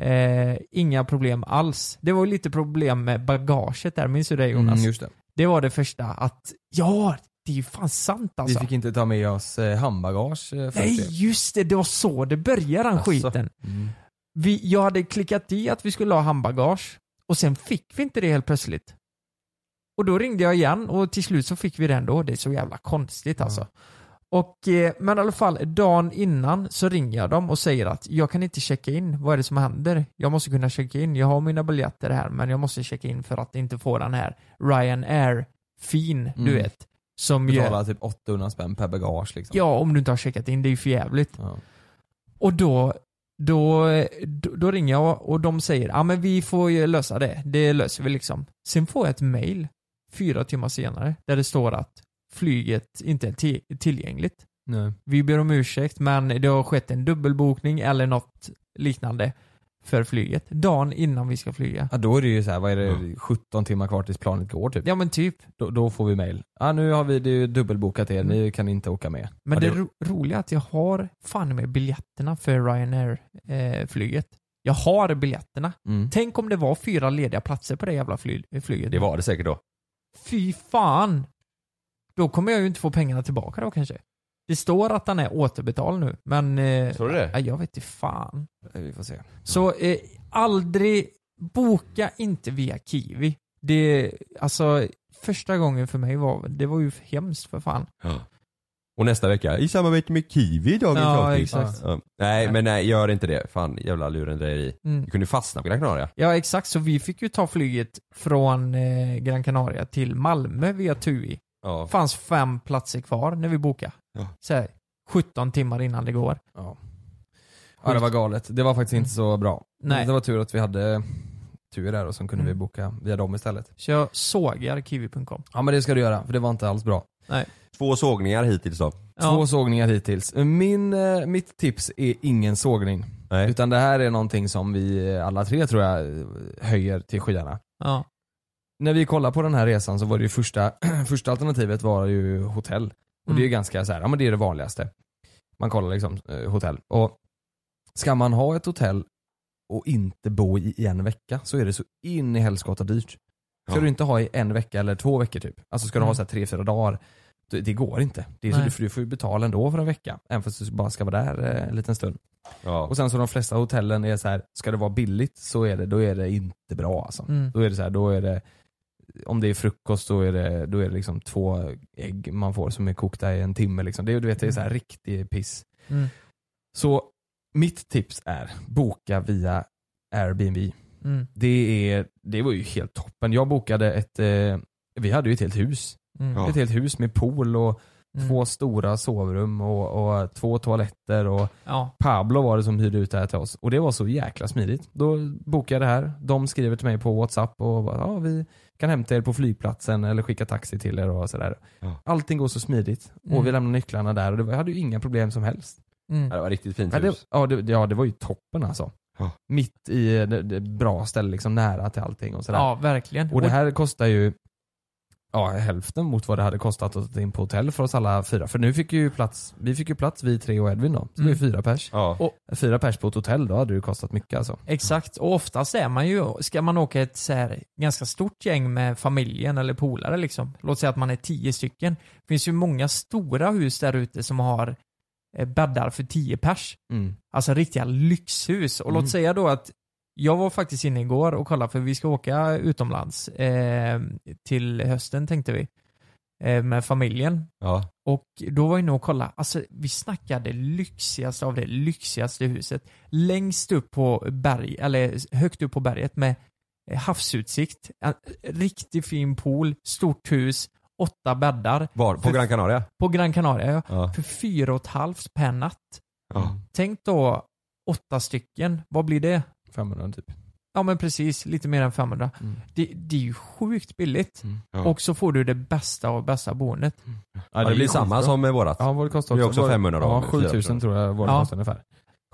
[SPEAKER 3] Eh, inga problem alls. Det var ju lite problem med bagaget där, minns du det Jonas?
[SPEAKER 4] Mm, just det.
[SPEAKER 3] Det var det första att, ja, det är ju fan sant alltså.
[SPEAKER 4] Vi fick inte ta med oss eh, handbagage eh, först.
[SPEAKER 3] Nej, just det, det var så det började den
[SPEAKER 4] Asså.
[SPEAKER 3] skiten.
[SPEAKER 4] Mm.
[SPEAKER 3] Vi, jag hade klickat i att vi skulle ha handbagage och sen fick vi inte det helt plötsligt. Och då ringde jag igen och till slut så fick vi det ändå. Det är så jävla konstigt alltså. Och, eh, men i alla fall, dagen innan så ringer jag dem och säger att jag kan inte checka in. Vad är det som händer? Jag måste kunna checka in. Jag har mina biljetter här men jag måste checka in för att inte få den här Ryanair-fin, du
[SPEAKER 4] Mm.
[SPEAKER 3] vet. Som gör,
[SPEAKER 4] Betala typ 800 spänn per bagage liksom.
[SPEAKER 3] ja, om du inte har checkat in, det är ju för jävligt.
[SPEAKER 4] Ja.
[SPEAKER 3] Och då, då, då, då ringer jag och de säger ja men vi får ju lösa det. Det löser vi liksom. Sen får jag ett mail fyra timmar senare där det står att flyget inte är ti- tillgängligt.
[SPEAKER 4] Nej.
[SPEAKER 3] Vi ber om ursäkt men det har skett en dubbelbokning eller något liknande för flyget. Dagen innan vi ska flyga.
[SPEAKER 4] Ja, då är det ju så här, vad är det, 17 timmar kvar tills planet går typ.
[SPEAKER 3] Ja men typ.
[SPEAKER 4] Då, då får vi mail. Ja, nu har vi det är ju dubbelbokat er, ni kan inte åka med.
[SPEAKER 3] Mm. Men
[SPEAKER 4] ja,
[SPEAKER 3] det, ro- roliga är att jag har fan med biljetterna för Ryanair-flyget. jag har biljetterna.
[SPEAKER 4] Mm.
[SPEAKER 3] Tänk om det var fyra lediga platser på det jävla fly- flyget.
[SPEAKER 5] Det var det säkert då.
[SPEAKER 3] fy fan. Då kommer jag ju inte få pengarna tillbaka då kanske. Det står att han är återbetald nu, men... Eh,
[SPEAKER 5] Tror du det?
[SPEAKER 3] ja, jag vet inte fan.
[SPEAKER 4] Vi får se.
[SPEAKER 3] Så eh, aldrig, boka inte via Kiwi. Det, alltså, första gången för mig var, det var ju hemskt för fan.
[SPEAKER 5] Och nästa vecka, i samarbete med Kiwi dagens
[SPEAKER 3] Ja,
[SPEAKER 5] avsnitt.
[SPEAKER 3] exakt.
[SPEAKER 5] Ja. Nej men nej, gör inte det. Fan jävla lurendrejeri.
[SPEAKER 3] Mm.
[SPEAKER 5] Du kunde fastna på Gran Canaria.
[SPEAKER 3] Ja exakt, så vi fick ju ta flyget från eh, Gran Canaria till Malmö via TUI.
[SPEAKER 5] Ja.
[SPEAKER 3] fanns fem platser kvar när vi bokade.
[SPEAKER 5] Ja.
[SPEAKER 3] Så här, 17 timmar innan det går.
[SPEAKER 4] Ja. ja, det var galet. Det var faktiskt inte så bra.
[SPEAKER 3] Mm. Nej.
[SPEAKER 4] Det var tur att vi hade tur där och sen kunde
[SPEAKER 3] Mm.
[SPEAKER 4] vi boka via dem istället.
[SPEAKER 3] Så jag sågar kiwi.com.
[SPEAKER 4] Ja men det ska du göra, för det var inte alls bra.
[SPEAKER 5] Två sågningar hittills då.
[SPEAKER 4] Två sågningar hittills. Min, eh, mitt tips är ingen sågning.
[SPEAKER 5] Nej.
[SPEAKER 4] Utan det här är någonting som vi eh, alla tre tror jag eh, höjer till skyarna.
[SPEAKER 3] Ja.
[SPEAKER 4] när vi kollade på den här resan så var det ju första, första alternativet var ju hotell. Och det är ju
[SPEAKER 3] Mm.
[SPEAKER 4] ganska så här, ja men det är det vanligaste. Man kollar liksom eh, hotell. Och ska man ha ett hotell och inte bo i i en vecka så är det så in i helskotta dyrt. Ska
[SPEAKER 5] Ja.
[SPEAKER 4] du inte ha i en vecka eller två veckor typ. Alltså ska du ha
[SPEAKER 3] Mm.
[SPEAKER 4] så här tre, fyra dagar. Det, det går inte. Det är så
[SPEAKER 3] Nej.
[SPEAKER 4] du, för du får ju betala ändå för en vecka. Även fast du bara ska vara där eh, en liten stund.
[SPEAKER 5] Ja.
[SPEAKER 4] Och sen så de flesta hotellen är så här, ska det vara billigt så är det, då är det inte bra alltså.
[SPEAKER 3] Mm.
[SPEAKER 4] Då är det så här, då är det, om det är frukost då är det, då är det liksom två ägg man får som är kokta i en timme liksom. Det, är- du vet, det är så här riktig piss.
[SPEAKER 3] Mm.
[SPEAKER 4] Så mitt tips är, boka via Airbnb.
[SPEAKER 3] Mm.
[SPEAKER 4] Det, är, det var ju helt toppen. Jag bokade ett, eh, vi hade ju ett helt hus.
[SPEAKER 3] Mm.
[SPEAKER 5] Ja.
[SPEAKER 4] Ett helt hus med pool och
[SPEAKER 3] Mm.
[SPEAKER 4] två stora sovrum och, och två toaletter och
[SPEAKER 3] Ja.
[SPEAKER 4] Pablo var det som hyrde ut det här till oss och det var så jäkla smidigt. Då bokade jag det här. De skriver till mig på WhatsApp och bara, ja, vi kan hämta er på flygplatsen eller skicka taxi till er och sådär.
[SPEAKER 5] Ja.
[SPEAKER 4] Allting går så smidigt
[SPEAKER 3] Mm.
[SPEAKER 4] och vi lämnar nycklarna där och det var, jag hade ju inga problem som helst.
[SPEAKER 5] Ja,
[SPEAKER 3] Mm.
[SPEAKER 5] det var riktigt fint
[SPEAKER 4] Ja, det,
[SPEAKER 5] hus.
[SPEAKER 4] ja, det, ja, det var ju toppen alltså.
[SPEAKER 5] Ja.
[SPEAKER 4] Mitt i det, det bra ställe, liksom nära till allting och sådär.
[SPEAKER 3] ja, verkligen.
[SPEAKER 4] Och det här kostar ju ja, hälften mot vad det hade kostat att ta in på hotell för oss alla fyra. För nu fick ju plats, vi fick ju plats vi tre och Edvin då. Så vi är
[SPEAKER 3] Mm.
[SPEAKER 4] fyra pers.
[SPEAKER 5] Ja.
[SPEAKER 4] Fyra pers på ett hotell, då hade det ju kostat mycket alltså.
[SPEAKER 3] Exakt, och oftast är man ju, ska man åka ett så här, ganska stort gäng med familjen eller polare liksom, låt säga att man är tio stycken, det finns ju många stora hus där ute som har eh, bäddar för tio pers.
[SPEAKER 5] Mm.
[SPEAKER 3] Alltså riktiga lyxhus. Och
[SPEAKER 4] Mm.
[SPEAKER 3] låt säga då att jag var faktiskt inne igår och kollade för vi ska åka utomlands eh, till hösten tänkte vi. Eh, med familjen.
[SPEAKER 5] Ja.
[SPEAKER 3] Och då var jag inne och kollade, alltså vi snackade lyxigaste av det lyxigaste huset. Längst upp på berg, eller högt upp på berget med eh, havsutsikt, en eh, riktigt fin pool, stort hus, åtta bäddar
[SPEAKER 5] Var? På
[SPEAKER 3] För-
[SPEAKER 5] Gran Canaria?
[SPEAKER 3] på Gran Canaria ja,
[SPEAKER 5] Ja.
[SPEAKER 3] för fyra och ett halvt per natt.
[SPEAKER 5] Ja.
[SPEAKER 3] Tänk då åtta stycken, vad blir det?
[SPEAKER 4] 500 typ.
[SPEAKER 3] Ja men precis, lite mer än 500.
[SPEAKER 4] Mm.
[SPEAKER 3] Det, det är ju sjukt billigt.
[SPEAKER 5] Mm. Ja.
[SPEAKER 3] Och så får du det bästa av bästa boendet.
[SPEAKER 5] Ja, det blir samma som med vårat.
[SPEAKER 4] Ja, vad det kostar
[SPEAKER 5] Det är också
[SPEAKER 4] Var-
[SPEAKER 5] 500 då,
[SPEAKER 4] Ja,
[SPEAKER 5] med
[SPEAKER 4] 7000
[SPEAKER 5] 400.
[SPEAKER 4] tror jag var det
[SPEAKER 3] Ja.
[SPEAKER 4] kostade ungefär.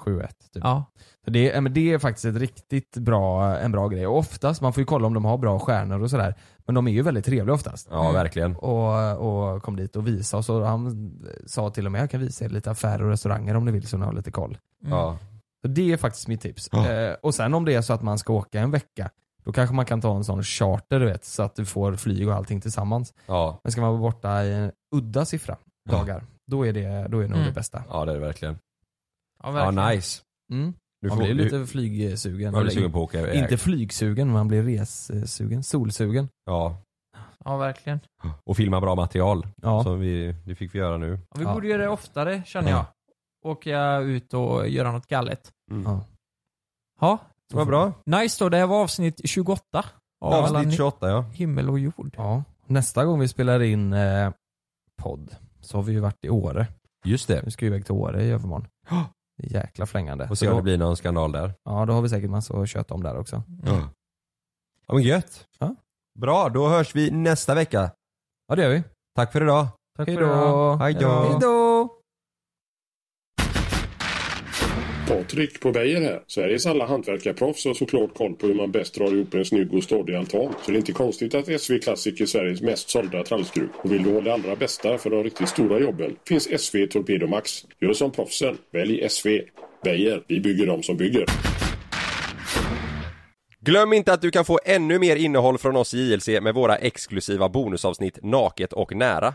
[SPEAKER 4] 7 1 typ.
[SPEAKER 3] Ja.
[SPEAKER 4] Så det, är, men det är faktiskt ett riktigt bra, en bra grej. Och oftast, man får ju kolla om de har bra stjärnor och sådär. Men de är ju väldigt trevliga oftast.
[SPEAKER 5] Ja, verkligen.
[SPEAKER 4] och, och kom dit och visa oss. Och han sa till och med jag kan visa er lite affärer och restauranger om ni vill så ni har lite koll.
[SPEAKER 3] Mm.
[SPEAKER 5] Ja.
[SPEAKER 4] Så det är faktiskt mitt tips.
[SPEAKER 5] Ja.
[SPEAKER 4] Eh, och sen om det är så att man ska åka en vecka, då kanske man kan ta en sån charter du vet, så att du får flyg och allting tillsammans.
[SPEAKER 5] Ja.
[SPEAKER 4] Men ska man vara borta i en udda siffra
[SPEAKER 5] Ja.
[SPEAKER 4] dagar, då är det, då är det nog
[SPEAKER 3] Mm.
[SPEAKER 4] det bästa.
[SPEAKER 5] ja, det är det verkligen.
[SPEAKER 3] Ja,
[SPEAKER 5] Ja,
[SPEAKER 3] verkligen.
[SPEAKER 5] nice.
[SPEAKER 4] Mm.
[SPEAKER 5] Du
[SPEAKER 4] Man
[SPEAKER 5] får-
[SPEAKER 4] blir
[SPEAKER 5] du-
[SPEAKER 4] lite
[SPEAKER 5] Man
[SPEAKER 4] flygsugen.
[SPEAKER 5] blir
[SPEAKER 4] Eller
[SPEAKER 5] sugen
[SPEAKER 4] in,
[SPEAKER 5] på att åka
[SPEAKER 4] inte flygsugen, man blir ressugen. Solsugen.
[SPEAKER 5] Ja.
[SPEAKER 3] Ja, verkligen.
[SPEAKER 5] Och filma bra material.
[SPEAKER 4] Ja.
[SPEAKER 5] Som vi, det fick vi göra nu.
[SPEAKER 3] Ja, Vi
[SPEAKER 4] Ja.
[SPEAKER 3] borde göra det oftare känner jag.
[SPEAKER 5] Ja.
[SPEAKER 3] Åka ut och göra något galet.
[SPEAKER 4] Ja.
[SPEAKER 3] Ja,
[SPEAKER 5] Det var bra.
[SPEAKER 3] nice då. Det här var avsnitt 28. av alla
[SPEAKER 5] Avsnitt
[SPEAKER 3] ni-
[SPEAKER 5] 28 ja.
[SPEAKER 3] Himmel och jord.
[SPEAKER 4] Ja. Nästa gång vi spelar in eh, podd så har vi ju varit i Åre.
[SPEAKER 5] Just det.
[SPEAKER 4] Nu ska vi iväg till Åre i övermorgon. Det är Jäkla flängande.
[SPEAKER 5] Och se
[SPEAKER 4] Så
[SPEAKER 5] om
[SPEAKER 4] då-
[SPEAKER 5] det blir någon skandal där.
[SPEAKER 4] Ja, då har vi säkert massor att köta om där också.
[SPEAKER 5] Ja. Ja men gött.
[SPEAKER 4] Ja.
[SPEAKER 5] Bra, då hörs vi nästa vecka.
[SPEAKER 4] Ja, det gör vi.
[SPEAKER 5] Tack för idag.
[SPEAKER 4] Tack
[SPEAKER 3] Hej
[SPEAKER 4] för idag.
[SPEAKER 5] Hej då.
[SPEAKER 4] Hej då.
[SPEAKER 1] Patrik på Beijer här. Sveriges alla hantverkarproffs har såklart koll på hur man bäst drar ihop en snygg och stadig altan. Så det är inte konstigt att SV Classic är Sveriges mest sålda trallskruv. Och vill du ha det allra bästa för de riktigt stora jobben finns SV Torpedo Max. Gör som proffsen. Välj SV. Beijer. Vi bygger de som bygger.
[SPEAKER 5] Glöm inte att du kan få ännu mer innehåll från oss i JLC med våra exklusiva bonusavsnitt Naket och nära.